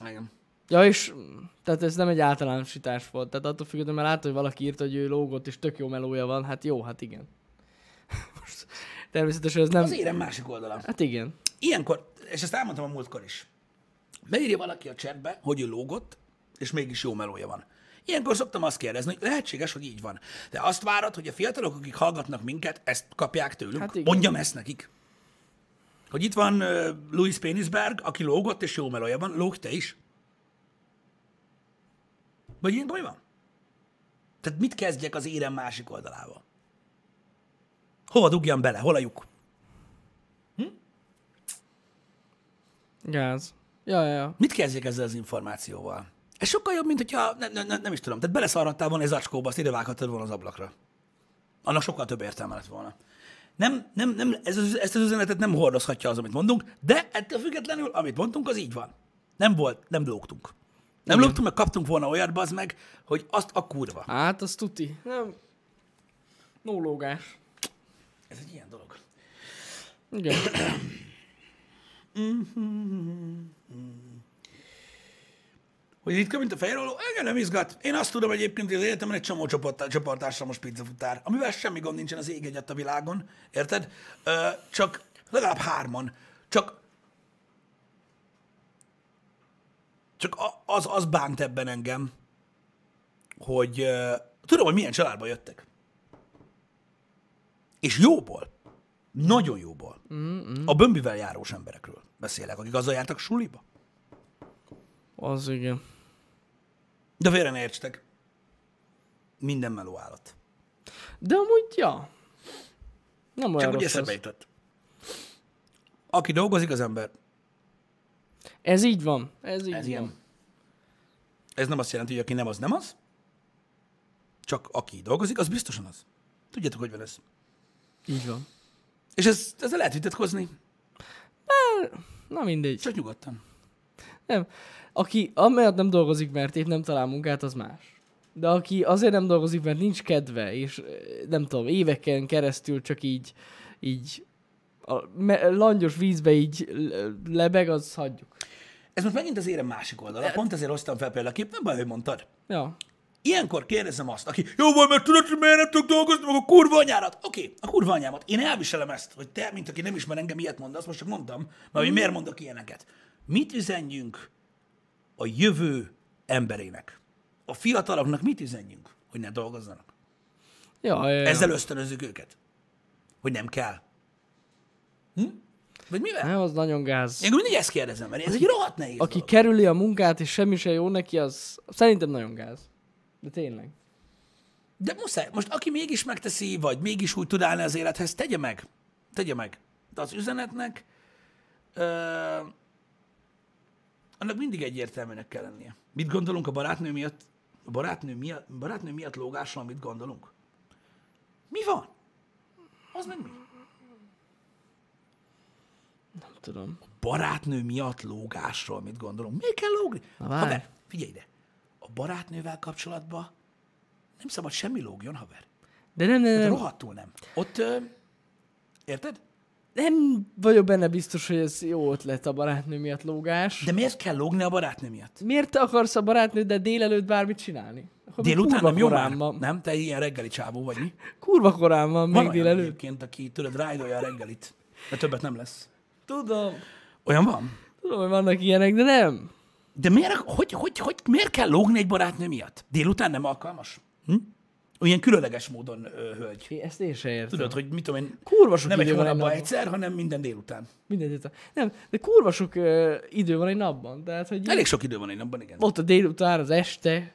Speaker 1: Igen.
Speaker 2: Ja, és mm, tehát ez nem egy általánosítás volt. Tehát attól függetlenül, mert látod, hogy valaki írta, hogy ő lógott, és tök jó melója van. Hát jó, hát igen. Most, természetesen ez nem...
Speaker 1: Az érem másik oldala.
Speaker 2: Hát igen.
Speaker 1: Ilyenkor, és ezt elmondtam a múltkor is, beírja valaki a chatbe, hogy ő lógott, és mégis jó melója van. Ilyenkor szoktam azt kérdezni, hogy lehetséges, hogy így van. De azt várod, hogy a fiatalok, akik hallgatnak minket, ezt kapják tőlünk.
Speaker 2: Hát
Speaker 1: Hát
Speaker 2: igen.
Speaker 1: Mondjam ezt nekik. Hogy itt van uh, Louis Pénisberg, aki lógott, és jó melója van. Lóg te is. Vagy ilyenkor mi van? Tehát mit kezdjek az érem másik oldalával? Hova dugjam bele? Hol a lyuk?
Speaker 2: Gáz. Ja, ja, ja.
Speaker 1: Mit kezdjek ezzel az információval? Ez sokkal jobb, mint hogyha, ne, ne, ne, nem is tudom, tehát beleszarrattál volna egy zacskóba, azt idevághattad volna az ablakra. Annak sokkal több értelme lett volna. Nem, nem, nem, ez, az- ezt az üzenetet nem hordozhatja az, amit mondunk, de ettől függetlenül, amit mondtunk, az így van. Nem volt, nem lógtunk. Nem Igen. lógtunk, meg kaptunk volna olyat, bazd meg, hogy azt a kurva.
Speaker 2: Hát, az tuti. Nem. No lógás.
Speaker 1: Ez egy ilyen dolog.
Speaker 2: Igen.
Speaker 1: Hogy ritka, mint a fejróló? Engem nem izgat. Én azt tudom egyébként, hogy az életemben egy csomó csoport- csoportásra most pizzafutár, amivel semmi gond nincsen az ég egyet a világon, érted? Ö, csak legalább hárman. Csak csak a- az, az bánt ebben engem, hogy ö, tudom, hogy milyen családba jöttek. És jóból. Nagyon jóból. Mm-hmm. A bömbivel járós emberekről beszélek, akik azzal jártak suliba.
Speaker 2: Az igen.
Speaker 1: De félre ne értsetek. Minden meló állat.
Speaker 2: De amúgy, ja. Nem olyan
Speaker 1: Csak úgy
Speaker 2: rossz
Speaker 1: eszembe
Speaker 2: az.
Speaker 1: jutott. Aki dolgozik, az ember.
Speaker 2: Ez így van. Ez így
Speaker 1: Ez
Speaker 2: van.
Speaker 1: ilyen. Ez nem azt jelenti, hogy aki nem, az nem az. Csak aki dolgozik, az biztosan az. Tudjátok, hogy van ez.
Speaker 2: Így van.
Speaker 1: És ez, ezzel lehet vitatkozni,
Speaker 2: Na mindegy.
Speaker 1: csak nyugodtan.
Speaker 2: Nem. Aki amiatt nem dolgozik, mert épp nem talál munkát, az más. De aki azért nem dolgozik, mert nincs kedve, és ö, nem tudom, éveken keresztül csak így, így a me- langyos vízbe így l- lebeg, az hagyjuk.
Speaker 1: Ez most megint az érem másik oldala. Pont ezért hoztam fel példaképp, nem baj, hogy mondtad.
Speaker 2: Ja.
Speaker 1: Ilyenkor kérdezem azt, aki, jó van, mert tudod, hogy miért nem tudok dolgozni, meg a kurva anyárat. Oké, okay, a kurva anyámat. Én elviselem ezt, hogy te, mint aki nem ismer engem, ilyet mondasz, most csak mondtam, mert hogy miért mondok ilyeneket. Mit üzenjünk a jövő emberének? A fiataloknak mit üzenjünk, hogy ne dolgozzanak?
Speaker 2: Ja, ja, ja.
Speaker 1: Ezzel ösztönözzük őket, hogy nem kell. Hm? Vagy mivel?
Speaker 2: Nem, az nagyon gáz.
Speaker 1: Én mindig ezt kérdezem, mert ez egy rohadt nehéz
Speaker 2: Hát- Aki
Speaker 1: Aki...
Speaker 2: kerüli a munkát, és semmi se jó neki, az szerintem nagyon gáz. De tényleg.
Speaker 1: De muszáj. Most aki mégis megteszi, vagy mégis úgy tud állni az élethez, tegye meg. Tegye meg. De az üzenetnek, ö, annak mindig egyértelműnek kell lennie. Mit gondolunk a barátnő miatt? A barátnő miatt, barátnő miatt lógásról mit gondolunk? Mi van? Az meg mi?
Speaker 2: Nem tudom.
Speaker 1: barátnő miatt lógásról mit gondolunk. Miért kell lógni?
Speaker 2: Na, várj.
Speaker 1: Haver, figyelj ide. A barátnővel kapcsolatban nem szabad semmi lógjon, haver.
Speaker 2: De nem, nem,
Speaker 1: De
Speaker 2: nem.
Speaker 1: rohadtul nem. Ott, ö, érted?
Speaker 2: Nem vagyok benne biztos, hogy ez jó ötlet a barátnő miatt lógás.
Speaker 1: De miért kell lógni a barátnő miatt?
Speaker 2: Miért te akarsz a barátnőddel délelőtt bármit csinálni? Akkor még
Speaker 1: Délután
Speaker 2: kurva
Speaker 1: nem jó már?
Speaker 2: korán van.
Speaker 1: Nem? Te ilyen reggeli csávó vagy mi?
Speaker 2: Kurva korán van
Speaker 1: Van
Speaker 2: még
Speaker 1: olyan
Speaker 2: délelőtt.
Speaker 1: egyébként, aki tudod, rájdolja a reggelit, de többet nem lesz.
Speaker 2: Tudom.
Speaker 1: Olyan van?
Speaker 2: Tudom, hogy vannak ilyenek, de nem.
Speaker 1: De miért, hogy, hogy, hogy, miért kell lógni egy barátnő miatt? Délután nem alkalmas? Hm? Olyan különleges módon ö, hölgy.
Speaker 2: Én ezt én sem értem.
Speaker 1: Tudod, hogy mit tudom én,
Speaker 2: Kurva sok
Speaker 1: nem egy
Speaker 2: idő van egy
Speaker 1: hónapban
Speaker 2: napban.
Speaker 1: egyszer, hanem minden délután.
Speaker 2: Mindegy, ez a- nem, de kurva sok ö, idő van egy napban. Tehát, hogy
Speaker 1: Elég sok idő van egy napban, igen.
Speaker 2: ott a délután, az este,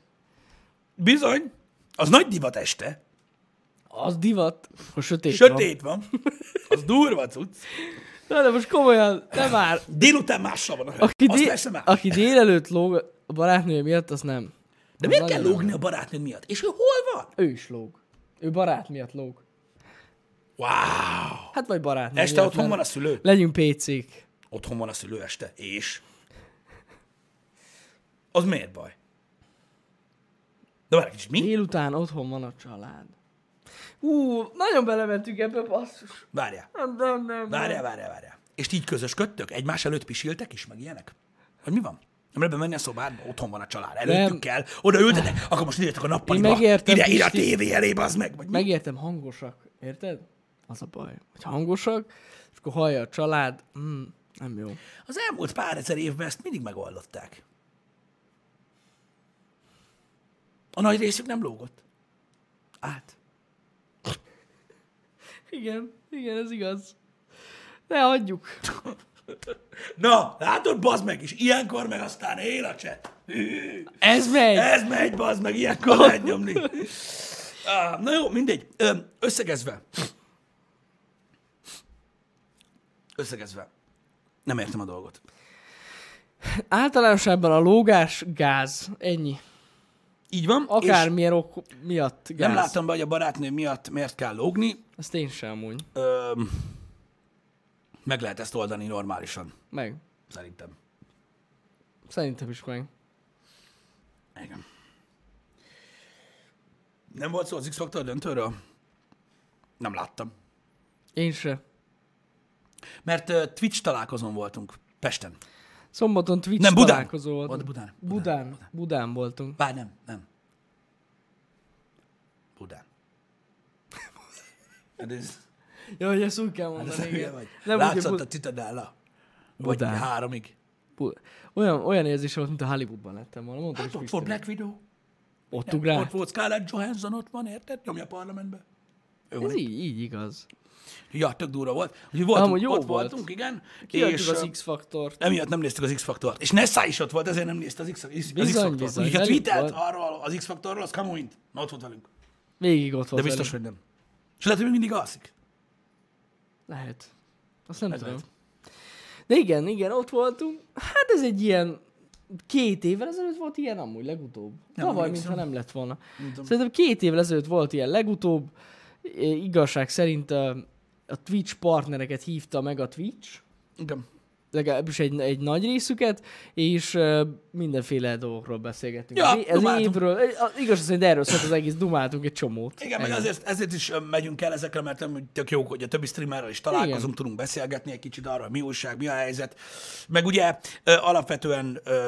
Speaker 1: Bizony, az nagy divat este.
Speaker 2: az divat, hogy sötét
Speaker 1: Sötét van. Az durva cucc.
Speaker 2: Van. Na, de most komolyan, nem már.
Speaker 1: Délután mással van a hölgy.
Speaker 2: Aki,
Speaker 1: Azt
Speaker 2: dé-
Speaker 1: persze más.
Speaker 2: aki délelőtt lóg a barátnője miatt, az nem.
Speaker 1: De
Speaker 2: Az
Speaker 1: miért
Speaker 2: nagyon
Speaker 1: kell
Speaker 2: nem.
Speaker 1: lógni a barátnőd miatt? És ő hol van?
Speaker 2: Ő is lóg. Ő barát miatt lóg.
Speaker 1: Wow!
Speaker 2: Hát vagy barátnő
Speaker 1: Este
Speaker 2: miatt,
Speaker 1: otthon
Speaker 2: mert-
Speaker 1: van a szülő?
Speaker 2: Legyünk PC-k.
Speaker 1: Otthon van a szülő este. És? Az miért baj? De várj egy kicsit, mi?
Speaker 2: Délután otthon van a család. Ú, nagyon belementünk ebbe, basszus.
Speaker 1: Várjál,
Speaker 2: Nem, nem, nem. nem.
Speaker 1: várjál, várjál, várjál. És ti így közösködtök? Egymás előtt pisiltek is, meg ilyenek? Hogy mi van? Nem lehet bemenni a szobádba, otthon van a család, előttük
Speaker 2: Nem.
Speaker 1: kell, oda ültetek, akkor most írjatok a nappaliba,
Speaker 2: megértem,
Speaker 1: ide, ide a
Speaker 2: Pisti.
Speaker 1: tévé elé, bazd meg, vagy mi?
Speaker 2: Megértem, hangosak. Érted? Az a baj, hogy hangosak, és akkor hallja a család, mm, nem jó.
Speaker 1: Az elmúlt pár ezer évben ezt mindig megoldották. A nagy részük nem lógott. Át.
Speaker 2: Igen, igen, ez igaz. Ne hagyjuk.
Speaker 1: Na, látod, bazd meg, és ilyenkor meg aztán él a cset. Hű.
Speaker 2: Ez megy.
Speaker 1: Ez megy, bazd meg, ilyenkor lehet nyomni. Ah, Na jó, mindegy. Ö, Összegezve. Összegezve. Nem értem a dolgot.
Speaker 2: Általánosában a lógás gáz. Ennyi.
Speaker 1: Így van. és
Speaker 2: Akármilyen ok miatt gáz.
Speaker 1: nem láttam be, hogy a barátnő miatt miért kell lógni.
Speaker 2: Ezt én sem amúgy.
Speaker 1: Ö, meg lehet ezt oldani normálisan,
Speaker 2: Meg.
Speaker 1: szerintem.
Speaker 2: Szerintem is meg.
Speaker 1: Igen. Nem volt szó az X-Factor döntőről? Nem láttam.
Speaker 2: Én sem.
Speaker 1: Mert ö, Twitch találkozón voltunk. Pesten.
Speaker 2: Szombaton Twitch
Speaker 1: Nem,
Speaker 2: nem,
Speaker 1: Budán.
Speaker 2: találkozó volt.
Speaker 1: Volt Budán.
Speaker 2: Budán. Budán. Budán voltunk.
Speaker 1: Bár nem, nem. Budán. Hát ez,
Speaker 2: Jó, hogy ezt úgy kell
Speaker 1: hát
Speaker 2: mondani.
Speaker 1: ez hülye
Speaker 2: igen.
Speaker 1: vagy.
Speaker 2: Nem, úgy, hogy
Speaker 1: Látszott a
Speaker 2: Bud-
Speaker 1: titadálla. Vagy
Speaker 2: Budán.
Speaker 1: háromig.
Speaker 2: Bu- olyan, olyan érzés volt, mint a Hollywoodban lettem volna. Mondtam,
Speaker 1: Hát
Speaker 2: is
Speaker 1: ott volt
Speaker 2: Pistinek.
Speaker 1: Black Widow.
Speaker 2: ott
Speaker 1: Ott
Speaker 2: ugrált.
Speaker 1: volt Scarlett Johansson, ott van, érted? Nyomja a parlamentbe. Ő van
Speaker 2: Ez így, így igaz.
Speaker 1: Ja, tök durva volt. Úgyhogy voltunk,
Speaker 2: Amúgy
Speaker 1: jó
Speaker 2: jó
Speaker 1: ott volt.
Speaker 2: volt.
Speaker 1: voltunk, igen.
Speaker 2: Kiadjuk az
Speaker 1: ö,
Speaker 2: X-faktort.
Speaker 1: emiatt nem néztük az X-Faktort. És Nessa is ott volt, ezért nem nézte az X- az
Speaker 2: Bizony,
Speaker 1: X-Faktort.
Speaker 2: bizony,
Speaker 1: Úgyhogy a
Speaker 2: velünk
Speaker 1: tweetelt
Speaker 2: volt.
Speaker 1: arról, az X-Faktorról, az kamuint. Na, ott volt velünk.
Speaker 2: Végig ott
Speaker 1: De
Speaker 2: volt
Speaker 1: biztos,
Speaker 2: velünk.
Speaker 1: hogy nem. És lehet, hogy még mindig alszik.
Speaker 2: Lehet. Azt nem
Speaker 1: Ez
Speaker 2: tudom.
Speaker 1: lehet.
Speaker 2: De igen, igen, ott voltunk. Hát ez egy ilyen két évvel ezelőtt volt ilyen amúgy legutóbb.
Speaker 1: Nem
Speaker 2: Nem Tavaly,
Speaker 1: emlékszem.
Speaker 2: mintha nem lett volna.
Speaker 1: tudom.
Speaker 2: Szerintem két évvel ezelőtt volt ilyen legutóbb. É, Igazság szerint a, a Twitch partnereket hívta meg a Twitch,
Speaker 1: Igen.
Speaker 2: legalábbis egy, egy nagy részüket, és ö, mindenféle dolgokról beszélgettünk.
Speaker 1: Ja,
Speaker 2: ez ez
Speaker 1: dumáltunk.
Speaker 2: évről, a- igazság szerint erről szólt az egész, dumáltunk egy csomót.
Speaker 1: Igen, meg azért, ezért is ö, megyünk el ezekre, mert nem tök jó, hogy a többi streamerrel is találkozunk,
Speaker 2: Igen.
Speaker 1: tudunk beszélgetni egy kicsit arra, mi újság, mi a helyzet. Meg ugye ö, alapvetően ö,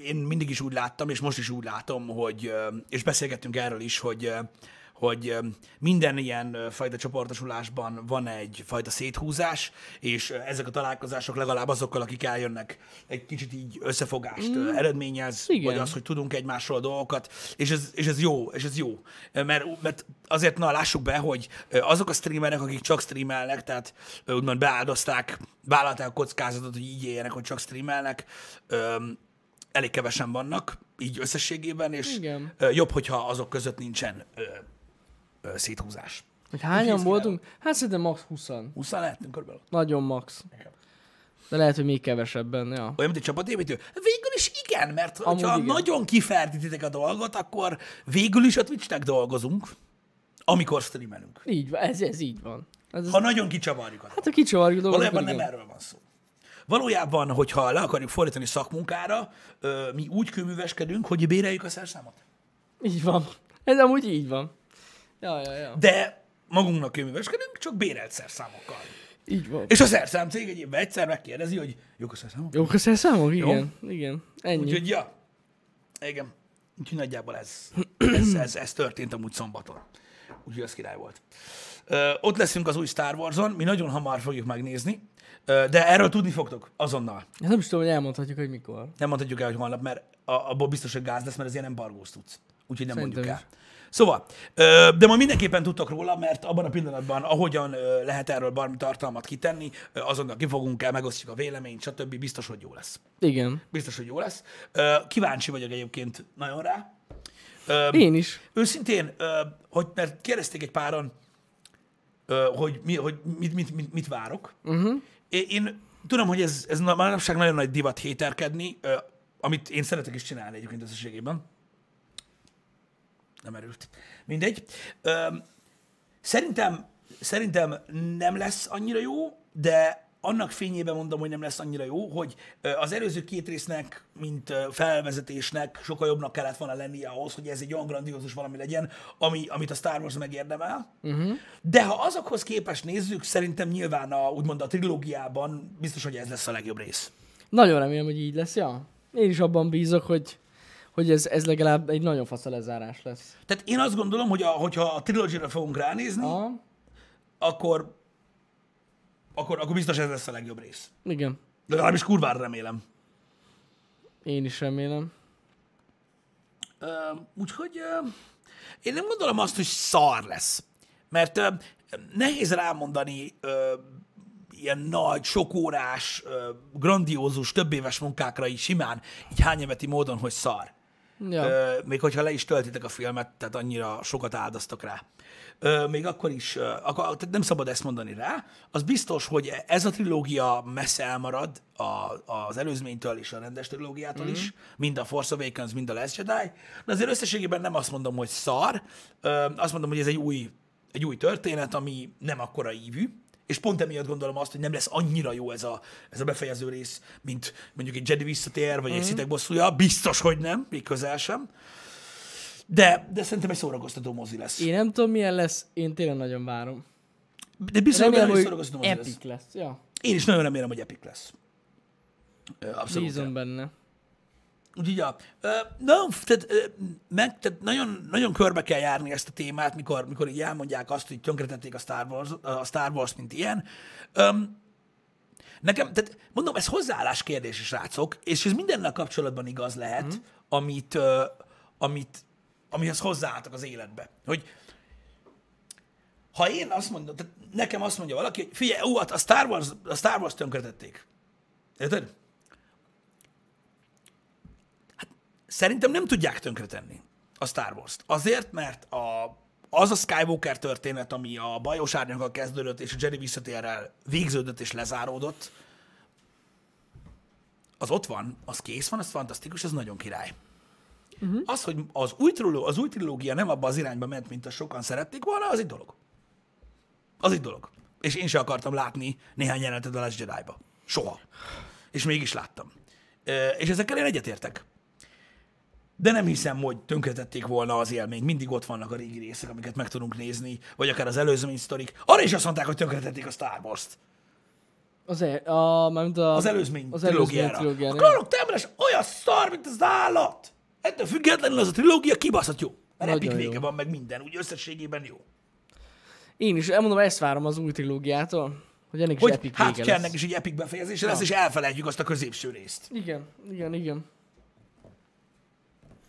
Speaker 1: én mindig is úgy láttam, és most is úgy látom, hogy, ö, és beszélgettünk erről is, hogy ö, hogy ö, minden ilyen ö, fajta csoportosulásban van egy fajta széthúzás, és ö, ezek a találkozások legalább azokkal, akik eljönnek, egy kicsit így összefogást mm. eredményez, Igen.
Speaker 2: Hát Igen.
Speaker 1: vagy az, hogy tudunk egymásról dolgokat, és ez, és ez jó, és ez jó. Ö, Mert, mert azért, na, lássuk be, hogy ö, azok a streamerek, akik csak streamelnek, tehát ö, úgymond beáldozták, vállalták a kockázatot, hogy így éljenek, hogy csak streamelnek, öm, elég kevesen vannak, így összességében, és
Speaker 2: Igen.
Speaker 1: ö, jobb, hogyha azok között nincsen ö, ö, széthúzás.
Speaker 2: Hogy hányan
Speaker 1: kész
Speaker 2: voltunk? Hát szerintem max 20-an.
Speaker 1: 20 lehetünk körülbelül.
Speaker 2: Nagyon max. De lehet, hogy még kevesebben, ja.
Speaker 1: Olyan, mint egy csapatépítő? Végül is igen, mert ha
Speaker 2: Amúgy igen.
Speaker 1: nagyon kiferdítitek a dolgot, akkor végül is a Twitchnek dolgozunk, amikor streamelünk.
Speaker 2: Így van, ez, ez így van. Ez,
Speaker 1: Ha nagyon kicsavarjuk a
Speaker 2: hát a kicsavarjú dolgok,
Speaker 1: Valójában nem
Speaker 2: igen.
Speaker 1: erről van szó. Valójában, hogyha le akarjuk fordítani szakmunkára, ö, mi úgy kőműveskedünk, hogy béreljük a szerszámot.
Speaker 2: Így van. Ez amúgy így van. Ja, ja, ja.
Speaker 1: De magunknak kőműveskedünk, csak bérelt szerszámokkal.
Speaker 2: Így van.
Speaker 1: És a szerszám cég egy évben egyszer megkérdezi, hogy jók a szerszámok?
Speaker 2: Jók a szerszámok? Igen. Igen. Ennyi.
Speaker 1: Úgyhogy, ja. Igen. Úgyhogy nagyjából ez, ez, ez, ez történt amúgy szombaton. Úgyhogy az király volt. Ö, ott leszünk az új Star Wars-on, mi nagyon hamar fogjuk megnézni, ö, de erről tudni fogtok azonnal.
Speaker 2: Hát nem is tudom, hogy elmondhatjuk, hogy mikor.
Speaker 1: Nem mondhatjuk el, hogy holnap, mert a- abból biztos, hogy gáz lesz, mert ez ilyen embargós tudsz. Úgyhogy nem
Speaker 2: Szerintem
Speaker 1: mondjuk el. Szóval, ö, de ma mindenképpen tudtak róla, mert abban a pillanatban, ahogyan ö, lehet erről bármi tartalmat kitenni, ö, azonnal kifogunk el, megosztjuk a véleményt, stb. Biztos, hogy jó lesz.
Speaker 2: Igen.
Speaker 1: Biztos, hogy jó lesz. Ö, Kíváncsi vagyok egyébként nagyon rá. Ö,
Speaker 2: Én is.
Speaker 1: Őszintén, ö, hogy, mert kérdezték egy páran, ö, hogy, mi, hogy mit, mit, mit, mit várok. Uh-huh. Én, én tudom, hogy ez, ez na- manapság nagyon nagy divat héterkedni, ö, amit én szeretek is csinálni egyébként összességében. Nem erült. Mindegy. Ö, Szerintem, szerintem nem lesz annyira jó, de annak fényében mondom, hogy nem lesz annyira jó, hogy ö, az előző két résznek, mint ö, felvezetésnek sokkal jobbnak kellett volna lennie ahhoz, hogy ez egy olyan grandiózus valami legyen, ami, amit a Star Wars megérdemel. Uh-huh. De ha azokhoz képest nézzük, szerintem nyilván a, úgymond a trilógiában biztos, hogy ez lesz a legjobb rész.
Speaker 2: Nagyon remélem, hogy így lesz, ja. Én is abban bízok, hogy, hogy ez, ez legalább egy nagyon fasz a lezárás lesz.
Speaker 1: Tehát én azt gondolom, hogy a, hogyha a trilógia fogunk ránézni,
Speaker 2: Ah,
Speaker 1: akkor, akkor, akkor biztos ez lesz a legjobb rész.
Speaker 2: igen.
Speaker 1: De legalábbis kurvára remélem.
Speaker 2: Én is remélem.
Speaker 1: Ö, úgyhogy ö, én nem gondolom azt, hogy szar lesz. Mert ö, nehéz rámondani ö, ilyen nagy, sokórás, ö, grandiózus, többéves munkákra így simán, így hányemeti módon, hogy szar.
Speaker 2: Ja.
Speaker 1: Ö, még hogyha le is töltitek a filmet, tehát annyira sokat áldoztak rá. Ö, még akkor is, ö, akkor, tehát nem szabad ezt mondani rá. Az biztos, hogy ez a trilógia messze elmarad a, az előzménytől és a rendes trilógiától mm. is, mind a Force Awakens, mind a Last Jedi, de azért összességében nem azt mondom, hogy szar, ö, azt mondom, hogy ez egy új, egy új történet, ami nem akkora ívű, és pont emiatt gondolom azt, hogy nem lesz annyira jó ez a, ez a befejező rész, mint mondjuk egy Jedi visszatér, vagy mm.
Speaker 2: Mhm.
Speaker 1: egy szitek bosszúja. Biztos, hogy nem, még közel sem. De, de szerintem egy szórakoztató mozi lesz.
Speaker 2: Én nem tudom, milyen lesz, én tényleg nagyon várom.
Speaker 1: De biztos, hogy
Speaker 2: Remélem,
Speaker 1: egy
Speaker 2: hogy
Speaker 1: szórakoztató mozi lesz.
Speaker 2: epic lesz. Ja,
Speaker 1: Én is nagyon remélem, hogy epic lesz. Ö, Abszolút.
Speaker 2: bízom benne.
Speaker 1: Úgyhogy, ja, ö, nagyon, tehát, ö, meg, tehát nagyon, nagyon körbe kell járni ezt a témát, mikor, mikor így elmondják azt, hogy tönkretették a Star Wars, a Star Wars mint ilyen. Öm, nekem, tehát mondom, ez hozzáállás kérdés is, rácok, és ez mindennel kapcsolatban igaz lehet, mm. amit, ö, amit, amihez hozzáálltak az életbe. Hogy ha én azt mondom, tehát nekem azt mondja valaki, hogy figyelj, ó, hát a Star Wars, a Star Wars tönkretették. Érted? szerintem nem tudják tönkretenni a Star Wars-t. Azért, mert a, az a Skywalker történet, ami a bajos árnyakkal kezdődött, és a Jedi visszatérrel végződött és lezáródott, az ott van, az kész van, az fantasztikus, az nagyon király. Uh-huh. Az, hogy az új, triló, az új trilógia nem abba az irányba ment, mint azt sokan szerették volna, az egy dolog. Az egy dolog. És én se akartam látni néhány jelenetet a Last Jedi-ba. Soha. És mégis láttam. Ö, És ezekkel én egyetértek. De nem hiszem, hogy tönkretették volna az élményt. Mindig ott vannak a régi részek, amiket meg tudunk nézni, vagy akár az előzmény sztorik. Arra is azt mondták, hogy tönkretették a Star Wars-t.
Speaker 2: Az, el, a, mármint a,
Speaker 1: Az előzmény
Speaker 2: az
Speaker 1: az
Speaker 2: előzmény
Speaker 1: trilógiára.
Speaker 2: trilógiára.
Speaker 1: A Kronok Temres olyan szar, mint az állat. Ettől függetlenül az a trilógia kibaszott jó. Mert
Speaker 2: Nagyon
Speaker 1: epik
Speaker 2: jó.
Speaker 1: vége van, meg minden, úgy összességében jó.
Speaker 2: Én is, elmondom, ezt várom az új trilógiától, hogy ennek is
Speaker 1: Hogy
Speaker 2: epic
Speaker 1: hát
Speaker 2: vége
Speaker 1: Kernnek
Speaker 2: lesz.
Speaker 1: is egy epic befejezése lesz, és elfelejtjük azt a középső részt.
Speaker 2: Igen, igen, igen.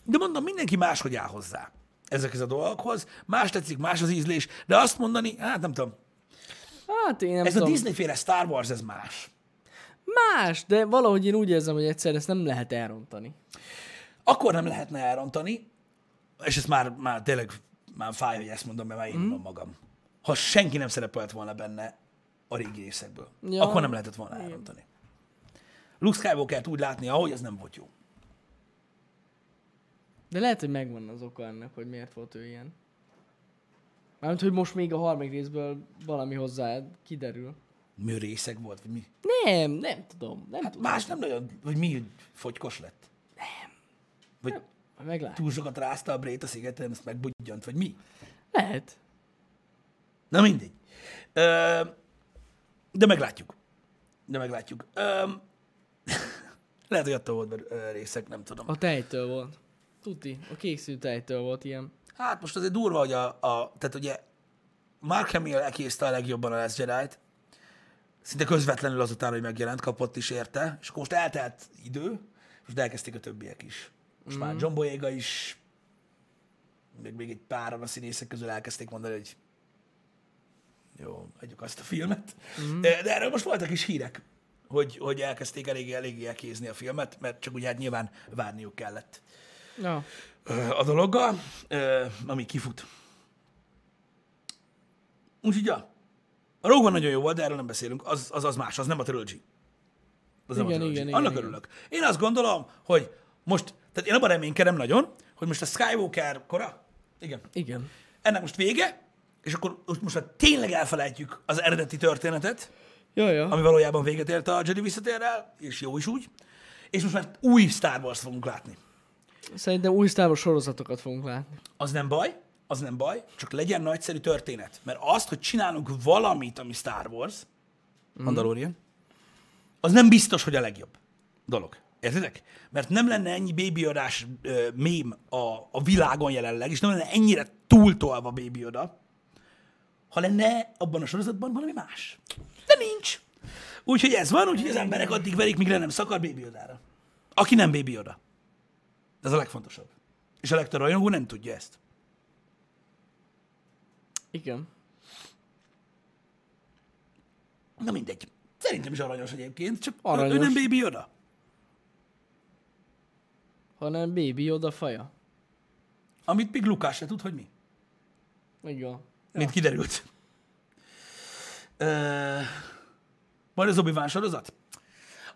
Speaker 1: De mondom, mindenki máshogy áll hozzá ezekhez a dolgokhoz. Más tetszik, más az ízlés, de azt mondani, hát nem tudom.
Speaker 2: Hát én nem
Speaker 1: Ez
Speaker 2: tudom.
Speaker 1: a Disney-féle Star Wars, ez más.
Speaker 2: Más, de valahogy én úgy érzem, hogy egyszer ezt nem lehet elrontani.
Speaker 1: Akkor nem lehetne elrontani, és ezt már, már tényleg már fáj, hogy ezt mondom, mert már én mondom magam. Ha senki nem szerepelt volna benne a régi részekből,
Speaker 2: Ja.
Speaker 1: akkor nem lehetett volna elrontani. Luke Skywalker-t úgy látni, ahogy ez nem volt jó.
Speaker 2: De lehet, hogy megvan az oka ennek, hogy miért volt ő ilyen. Mármint, hogy most még a harmadik részből valami hozzá kiderül.
Speaker 1: Mű részek volt, vagy mi?
Speaker 2: Nem, nem tudom, nem hát tudom.
Speaker 1: Más nem nagyon, vagy mi fogykos lett? Nem. Vagy
Speaker 2: Majd Meglát.
Speaker 1: túl sokat rázta a brét a szigeten, ezt megbudjant, vagy mi?
Speaker 2: Lehet.
Speaker 1: Na mindegy. Ö, de meglátjuk. De meglátjuk. Ö, lehet, hogy attól volt mert, ö, részek, nem tudom.
Speaker 2: A tejtől volt. Tuti, a kékszű tejtől volt ilyen.
Speaker 1: Hát most azért durva, hogy a, a tehát ugye Mark Hamill ekészte a legjobban a Last Jedi-t, szinte közvetlenül azután, hogy megjelent, kapott is érte, és akkor most eltelt idő, és most elkezdték a többiek is. Most mm. már John Boyega is, még, még egy páran a színészek közül elkezdték mondani, hogy jó, adjuk azt a filmet. Mm. De de erről most voltak is hírek, hogy, hogy elkezdték eléggé, eléggé elkézni a filmet, mert csak ugye hát nyilván várniuk kellett
Speaker 2: Na,
Speaker 1: ö, a dologgal, ö, ami kifut. Úgyhogy, ja. A Rogue One nagyon jó volt, de erről nem beszélünk. Az az, az más, az nem a trilogy. Az
Speaker 2: Igen,
Speaker 1: trilogy.
Speaker 2: igen, igen,
Speaker 1: Annak
Speaker 2: igen.
Speaker 1: örülök. Én azt gondolom, hogy most, tehát én abban reménykedem nagyon, hogy most a Skywalker kora, igen,
Speaker 2: igen.
Speaker 1: ennek most vége, és akkor most, most már tényleg elfelejtjük az eredeti történetet,
Speaker 2: Ja, ja.
Speaker 1: ami valójában véget ért a Jedi visszatérrel, és jó is úgy, és most már új Star Wars fogunk látni.
Speaker 2: Szerintem új Star Wars sorozatokat fogunk látni.
Speaker 1: Az nem baj, az nem baj, csak legyen nagyszerű történet. Mert azt, hogy csinálunk valamit, ami Star Wars, Mandalorian, az nem biztos, hogy a legjobb dolog. Értitek? Mert nem lenne ennyi bébiodás ö, mém a, a világon jelenleg, és nem lenne ennyire túltolva bébioda, ha lenne abban a sorozatban valami más. De nincs. Úgyhogy ez van, úgyhogy az emberek addig verik, míg le nem szakad bébiodára. Aki nem bébioda. Ez a legfontosabb. És a legtöbb rajongó nem tudja ezt.
Speaker 2: Igen.
Speaker 1: Na mindegy. Szerintem is aranyos egyébként, csak aranyos.
Speaker 2: Aranyos.
Speaker 1: ő nem Baby Yoda.
Speaker 2: Hanem Baby Yoda faja.
Speaker 1: Amit még Lukás se tud, hogy mi.
Speaker 2: Igen.
Speaker 1: Ja. Mint kiderült. Ö... Majd az obi sorozat?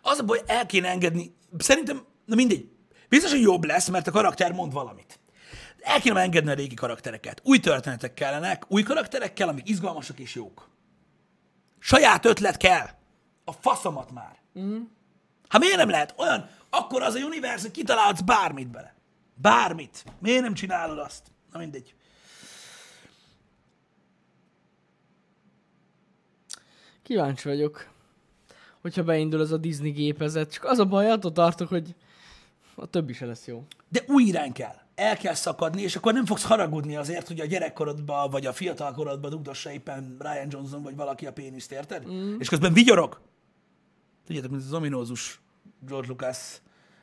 Speaker 1: Az a baj, el kéne engedni. Szerintem, na mindegy. Biztos, hogy jobb lesz, mert a karakter mond valamit. El kéne engedni a régi karaktereket. Új történetek kellenek, új karakterekkel, amik izgalmasak és jók. Saját ötlet kell. A faszomat már. Mm. Hát miért nem lehet olyan? Akkor az a univerzum, hogy kitalálhatsz bármit bele. Bármit. Miért nem csinálod azt? Na mindegy.
Speaker 2: Kíváncsi vagyok, hogyha beindul ez a Disney gépezet. Csak az a baj, attól tartok, hogy a többi se lesz jó.
Speaker 1: De új irány kell. El kell szakadni, és akkor nem fogsz haragudni azért, hogy a gyerekkorodban vagy a fiatalkorodban dugdossa éppen Ryan Johnson vagy valaki a péniszt, érted? Mm. És közben vigyorog. Tudjátok, mint az ominózus George Lucas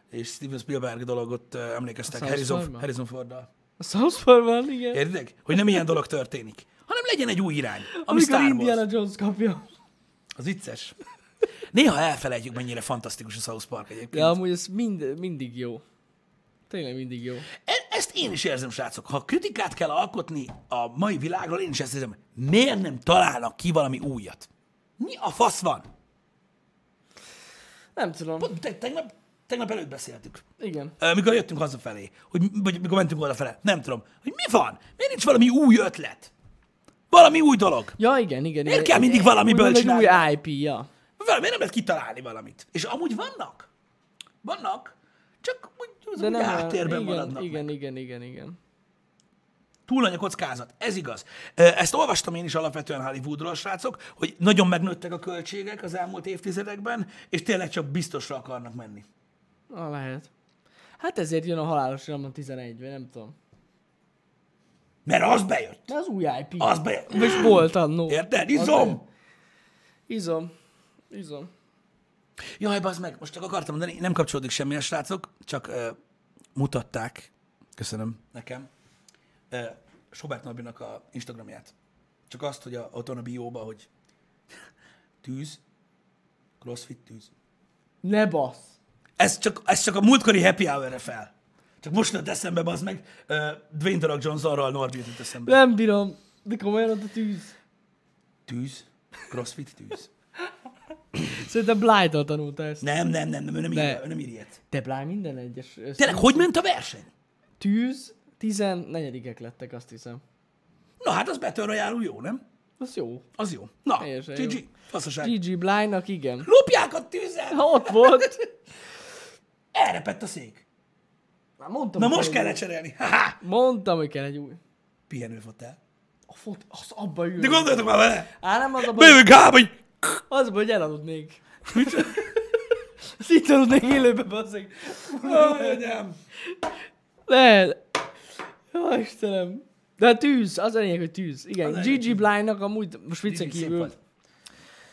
Speaker 1: és Steven Spielberg dolog, ott ö, emlékeztek
Speaker 2: South
Speaker 1: Harrison,
Speaker 2: Parkban?
Speaker 1: Harrison Forddal.
Speaker 2: A South Parkban, igen.
Speaker 1: Értitek? Hogy nem ilyen dolog történik, hanem legyen egy új irány, ami
Speaker 2: Amikor
Speaker 1: Star Wars.
Speaker 2: Indiana Jones kapja.
Speaker 1: Az vicces. Néha elfelejtjük, mennyire fantasztikus a South Park egyébként.
Speaker 2: De amúgy ez mind, mindig jó. Tényleg mindig jó.
Speaker 1: E- Ezt én is érzem, srácok. Ha kritikát kell alkotni a mai világról, én is ezt érzem. Miért nem találnak ki valami újat? Mi a fasz van?
Speaker 2: Nem tudom.
Speaker 1: Pont te- tegnap, tegnap előtt beszéltük.
Speaker 2: Igen.
Speaker 1: Ö, Mikor jöttünk hazafelé, hogy, vagy mikor mentünk odafele, nem tudom, hogy mi van? Miért nincs valami új ötlet? Valami új dolog.
Speaker 2: Ja, igen, igen.
Speaker 1: Miért
Speaker 2: igen.
Speaker 1: kell mindig
Speaker 2: Egy-
Speaker 1: valamiből
Speaker 2: úgymond
Speaker 1: csinálni?
Speaker 2: egy új IP, ja.
Speaker 1: Valami, miért nem lehet kitalálni valamit? És amúgy vannak. Vannak, csak úgy, az úgy
Speaker 2: olyan-
Speaker 1: háttérben
Speaker 2: igen,
Speaker 1: maradnak.
Speaker 2: Igen, igen, igen, igen.
Speaker 1: Túl nagy a kockázat, ez igaz. Ö, Ezt olvastam én is alapvetően Hollywoodról, srácok, hogy nagyon megnőttek a költségek az elmúlt évtizedekben, és tényleg csak biztosra akarnak menni.
Speaker 2: Na, lehet. Hát ezért jön a halálos iramon 11, vagy nem tudom.
Speaker 1: Mert az bejött.
Speaker 2: De az új IP.
Speaker 1: Az bejött.
Speaker 2: És volt annó.
Speaker 1: Érted?
Speaker 2: Mm. Az
Speaker 1: Izom!
Speaker 2: bejött. Izom. Izom.
Speaker 1: Jaj, bazd meg, most csak akartam mondani, nem kapcsolódik semmi a srácok, csak ö, mutatták, köszönöm nekem, ö, Sobert Norbinak a Instagramját. Csak azt, hogy a, ott van a bióba, hogy tűz, crossfit tűz.
Speaker 2: Ne bassz.
Speaker 1: Ez csak, ez csak a múltkori happy hour fel. Csak most jött eszembe, bazd meg, ö, Dwayne The Rock Johnsonral Norbi jutott eszembe.
Speaker 2: Nem bírom. De komolyan ott a tűz.
Speaker 1: Tűz, crossfit tűz.
Speaker 2: Szerintem Blight-tal tanulta ezt.
Speaker 1: Nem, nem, nem, nem, ő nem, ír,
Speaker 2: Ne.
Speaker 1: ő nem ír ilyet.
Speaker 2: De Blight minden egyes. össze-
Speaker 1: Tényleg, hogy ment a verseny?
Speaker 2: Tűz 14 lettek, azt hiszem.
Speaker 1: Na hát az Battle Royale jó, nem?
Speaker 2: Az jó.
Speaker 1: Az jó. Na,
Speaker 2: Teljesen jó.
Speaker 1: GG, faszaság.
Speaker 2: GG Blindnak igen.
Speaker 1: Lopják a tűzzel!
Speaker 2: Ha ott volt.
Speaker 1: Elrepett a szék.
Speaker 2: Már mondtam,
Speaker 1: Na
Speaker 2: hogy
Speaker 1: most
Speaker 2: kell
Speaker 1: kell lecserélni. Ha-ha!
Speaker 2: egy- Mondtam, hogy kell egy új.
Speaker 1: Pihenőfotel.
Speaker 2: A fot, az abba ül.
Speaker 1: De gondoltok már vele!
Speaker 2: Á, nem az a baj,
Speaker 1: Bővünk hába, hogy...
Speaker 2: az a baj, hogy elaludnék. Azt itt aludnék élőbe, bazzeg.
Speaker 1: Aj, anyám.
Speaker 2: Lehet. Jó, Istenem. De hát tűz, az a lényeg, hogy tűz. Igen,
Speaker 1: Az a lényeg,
Speaker 2: GG Blindnak amúgy, most viccen
Speaker 1: GG szép
Speaker 2: kívül,
Speaker 1: volt.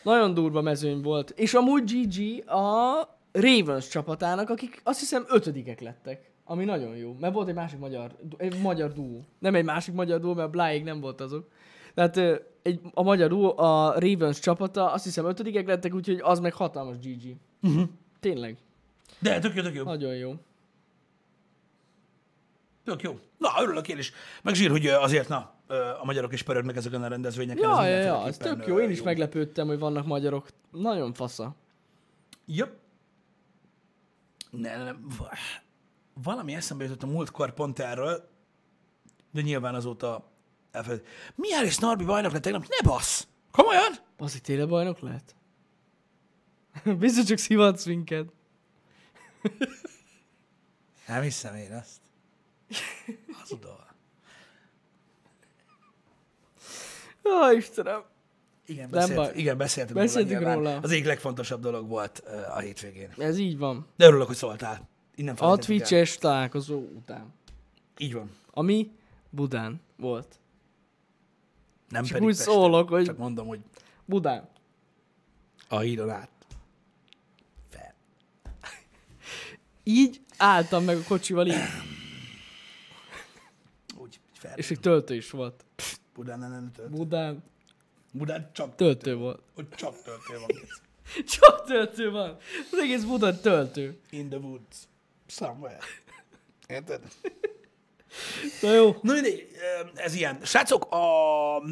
Speaker 2: nagyon durva mezőny volt. És amúgy GG a Ravens csapatának, akik azt hiszem ötödikek lettek. Ami nagyon jó, mert volt egy másik magyar, egy magyar duó. Nem egy másik magyar duó, mert Bláig nem volt azok. Tehát ö, egy, a magyar duó, a Ravens csapata, azt hiszem ötödikek lettek, úgyhogy az meg hatalmas GG. Uh-huh.
Speaker 1: Mhm.
Speaker 2: Tényleg,
Speaker 1: De tök jó, tök jó.
Speaker 2: nagyon jó.
Speaker 1: Tök jó. Na, örülök én is. Meg zsír, hogy ö, azért, na, ö, a magyarok is pörögnek ezeken a rendezvényeken.
Speaker 2: Ja, ja, ja, ez
Speaker 1: mindenféleképpen,
Speaker 2: tök
Speaker 1: ö,
Speaker 2: jó. Én is meglepődtem, hogy vannak magyarok. Nagyon fasza.
Speaker 1: Jop. Ne, ne, ne. va- Valami eszembe jutott a múltkor pont erről, de nyilván azóta elfelejt. Milyen és Narbi bajnok lett tegnap? Ne bassz! Komolyan?
Speaker 2: Bazik, tényleg bajnok lehet? Biztos csak szivatsz minket.
Speaker 1: Nem hiszem én azt. Hazudol.
Speaker 2: Ó, Istenem.
Speaker 1: Igen,
Speaker 2: Nem
Speaker 1: beszélt,
Speaker 2: baj.
Speaker 1: igen beszéltünk,
Speaker 2: Beszéltünk
Speaker 1: nyilván.
Speaker 2: róla.
Speaker 1: Az egyik legfontosabb dolog volt ö, a hétvégén.
Speaker 2: Ez így van.
Speaker 1: De örülök, hogy szóltál. Innen
Speaker 2: A
Speaker 1: felejtettem el.
Speaker 2: Twitch-es találkozó után.
Speaker 1: Így van.
Speaker 2: Ami Budán volt.
Speaker 1: Nem
Speaker 2: Csak
Speaker 1: pedig
Speaker 2: úgy
Speaker 1: Pesten.
Speaker 2: szólok, hogy-
Speaker 1: Csak mondom, hogy
Speaker 2: Budán.
Speaker 1: a hídon át. Fel.
Speaker 2: Így álltam meg a kocsival így,
Speaker 1: Úgy, így fel.
Speaker 2: és
Speaker 1: És
Speaker 2: egy töltő is volt.
Speaker 1: Budán nem, nem tölt.
Speaker 2: Budán
Speaker 1: Budán csak
Speaker 2: töltő volt.
Speaker 1: Hogy csak töltél van.
Speaker 2: Csak töltő van. Az egész Budán töltő.
Speaker 1: In the woods. Somewhere. Érted?
Speaker 2: Na jó.
Speaker 1: Na mindegy, ö, ez ilyen. Srácok, a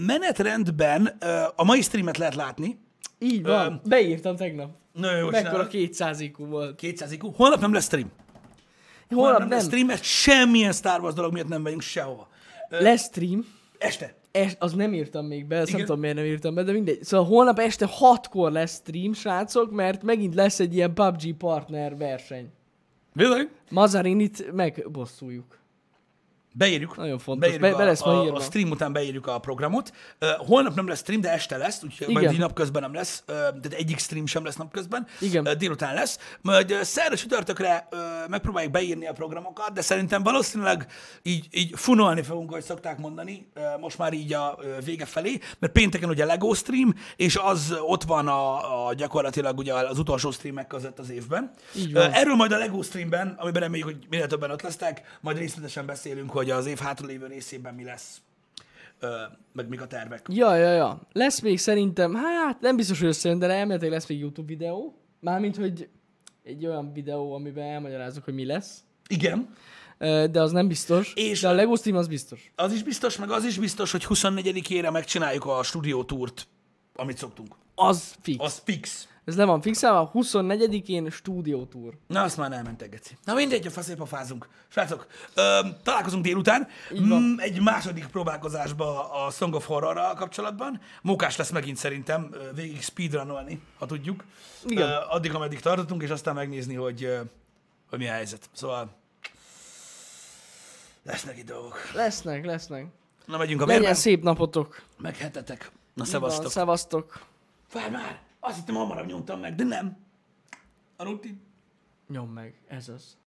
Speaker 1: menetrendben ö, a mai streamet lehet látni.
Speaker 2: Így van. Beírtam tegnap.
Speaker 1: Na jó,
Speaker 2: Mekkora
Speaker 1: csinálok.
Speaker 2: 200 IQ volt.
Speaker 1: 200 IQ. Holnap nem lesz stream.
Speaker 2: Holnap
Speaker 1: nem, lesz
Speaker 2: nem.
Speaker 1: stream, mert semmilyen Star Wars dolog miatt nem megyünk sehova.
Speaker 2: Lesz stream.
Speaker 1: Este.
Speaker 2: Es, az nem írtam még be, azt nem
Speaker 1: Igen.
Speaker 2: tudom miért nem írtam be, de mindegy. Szóval holnap este 6-kor lesz stream, srácok, mert megint lesz egy ilyen PUBG partner verseny.
Speaker 1: Bizony.
Speaker 2: Mazarinit megbosszuljuk.
Speaker 1: Beírjuk.
Speaker 2: Nagyon fontos.
Speaker 1: Beírjuk
Speaker 2: Be- be lesz
Speaker 1: a,
Speaker 2: ma
Speaker 1: a,
Speaker 2: írva.
Speaker 1: a stream után beírjuk a programot. Ö, holnap nem lesz stream, de este lesz, úgyhogy
Speaker 2: Igen.
Speaker 1: majd így napközben nem lesz. Ö, tehát egyik stream sem lesz napközben.
Speaker 2: Igen.
Speaker 1: Ö, délután lesz. Majd ö, szerda csütörtökre ö, megpróbáljuk beírni a programokat, de szerintem valószínűleg így, így funolni fogunk, ahogy szokták mondani, ö, most már így a ö, vége felé, mert pénteken ugye Lego stream, és az ott van a, a gyakorlatilag ugye az utolsó streamek között az évben.
Speaker 2: Így van.
Speaker 1: Ö, Erről majd a LEGO streamben, amiben reméljük, hogy minél többen ott lesznek, majd részletesen beszélünk, hogy az év hátralévő részében mi lesz, ö, meg mik a tervek.
Speaker 2: Ja, ja, ja. Lesz még szerintem, hát nem biztos, hogy összejön, de elméletileg lesz még YouTube videó. Mármint, hogy egy olyan videó, amiben elmagyarázok, hogy mi lesz.
Speaker 1: Igen,
Speaker 2: Ö, De az nem biztos.
Speaker 1: És-
Speaker 2: de a Lego stream az biztos.
Speaker 1: az is biztos, meg az is biztos, hogy 24-ére megcsináljuk a stúdiótúrt, amit szoktunk.
Speaker 2: Az fix.
Speaker 1: Az fix.
Speaker 2: Ez le van fixálva, 24-én stúdió tour.
Speaker 1: Na, azt már nem mentegeti. Na mindegy, a faszépa fázunk. Srácok, öm, találkozunk délután.
Speaker 2: van.
Speaker 1: Mm, egy második próbálkozásba a Song of horror kapcsolatban. Mókás lesz megint szerintem ö, végig speedrunolni, ha tudjuk.
Speaker 2: Igen.
Speaker 1: Ö, addig, ameddig tartottunk, és aztán megnézni, hogy, ö, hogy mi a helyzet. Szóval lesznek itt dolgok.
Speaker 2: Lesznek, lesznek.
Speaker 1: Na, megyünk a
Speaker 2: Legyen
Speaker 1: vérben,
Speaker 2: szép napotok.
Speaker 1: meg hetetek. Na,
Speaker 2: Így van,
Speaker 1: szevasztok.
Speaker 2: Szevasztok.
Speaker 1: Várj már, azt hittem hamarabb nyomtam meg, de nem. A rutin.
Speaker 2: Nyom meg, ez az.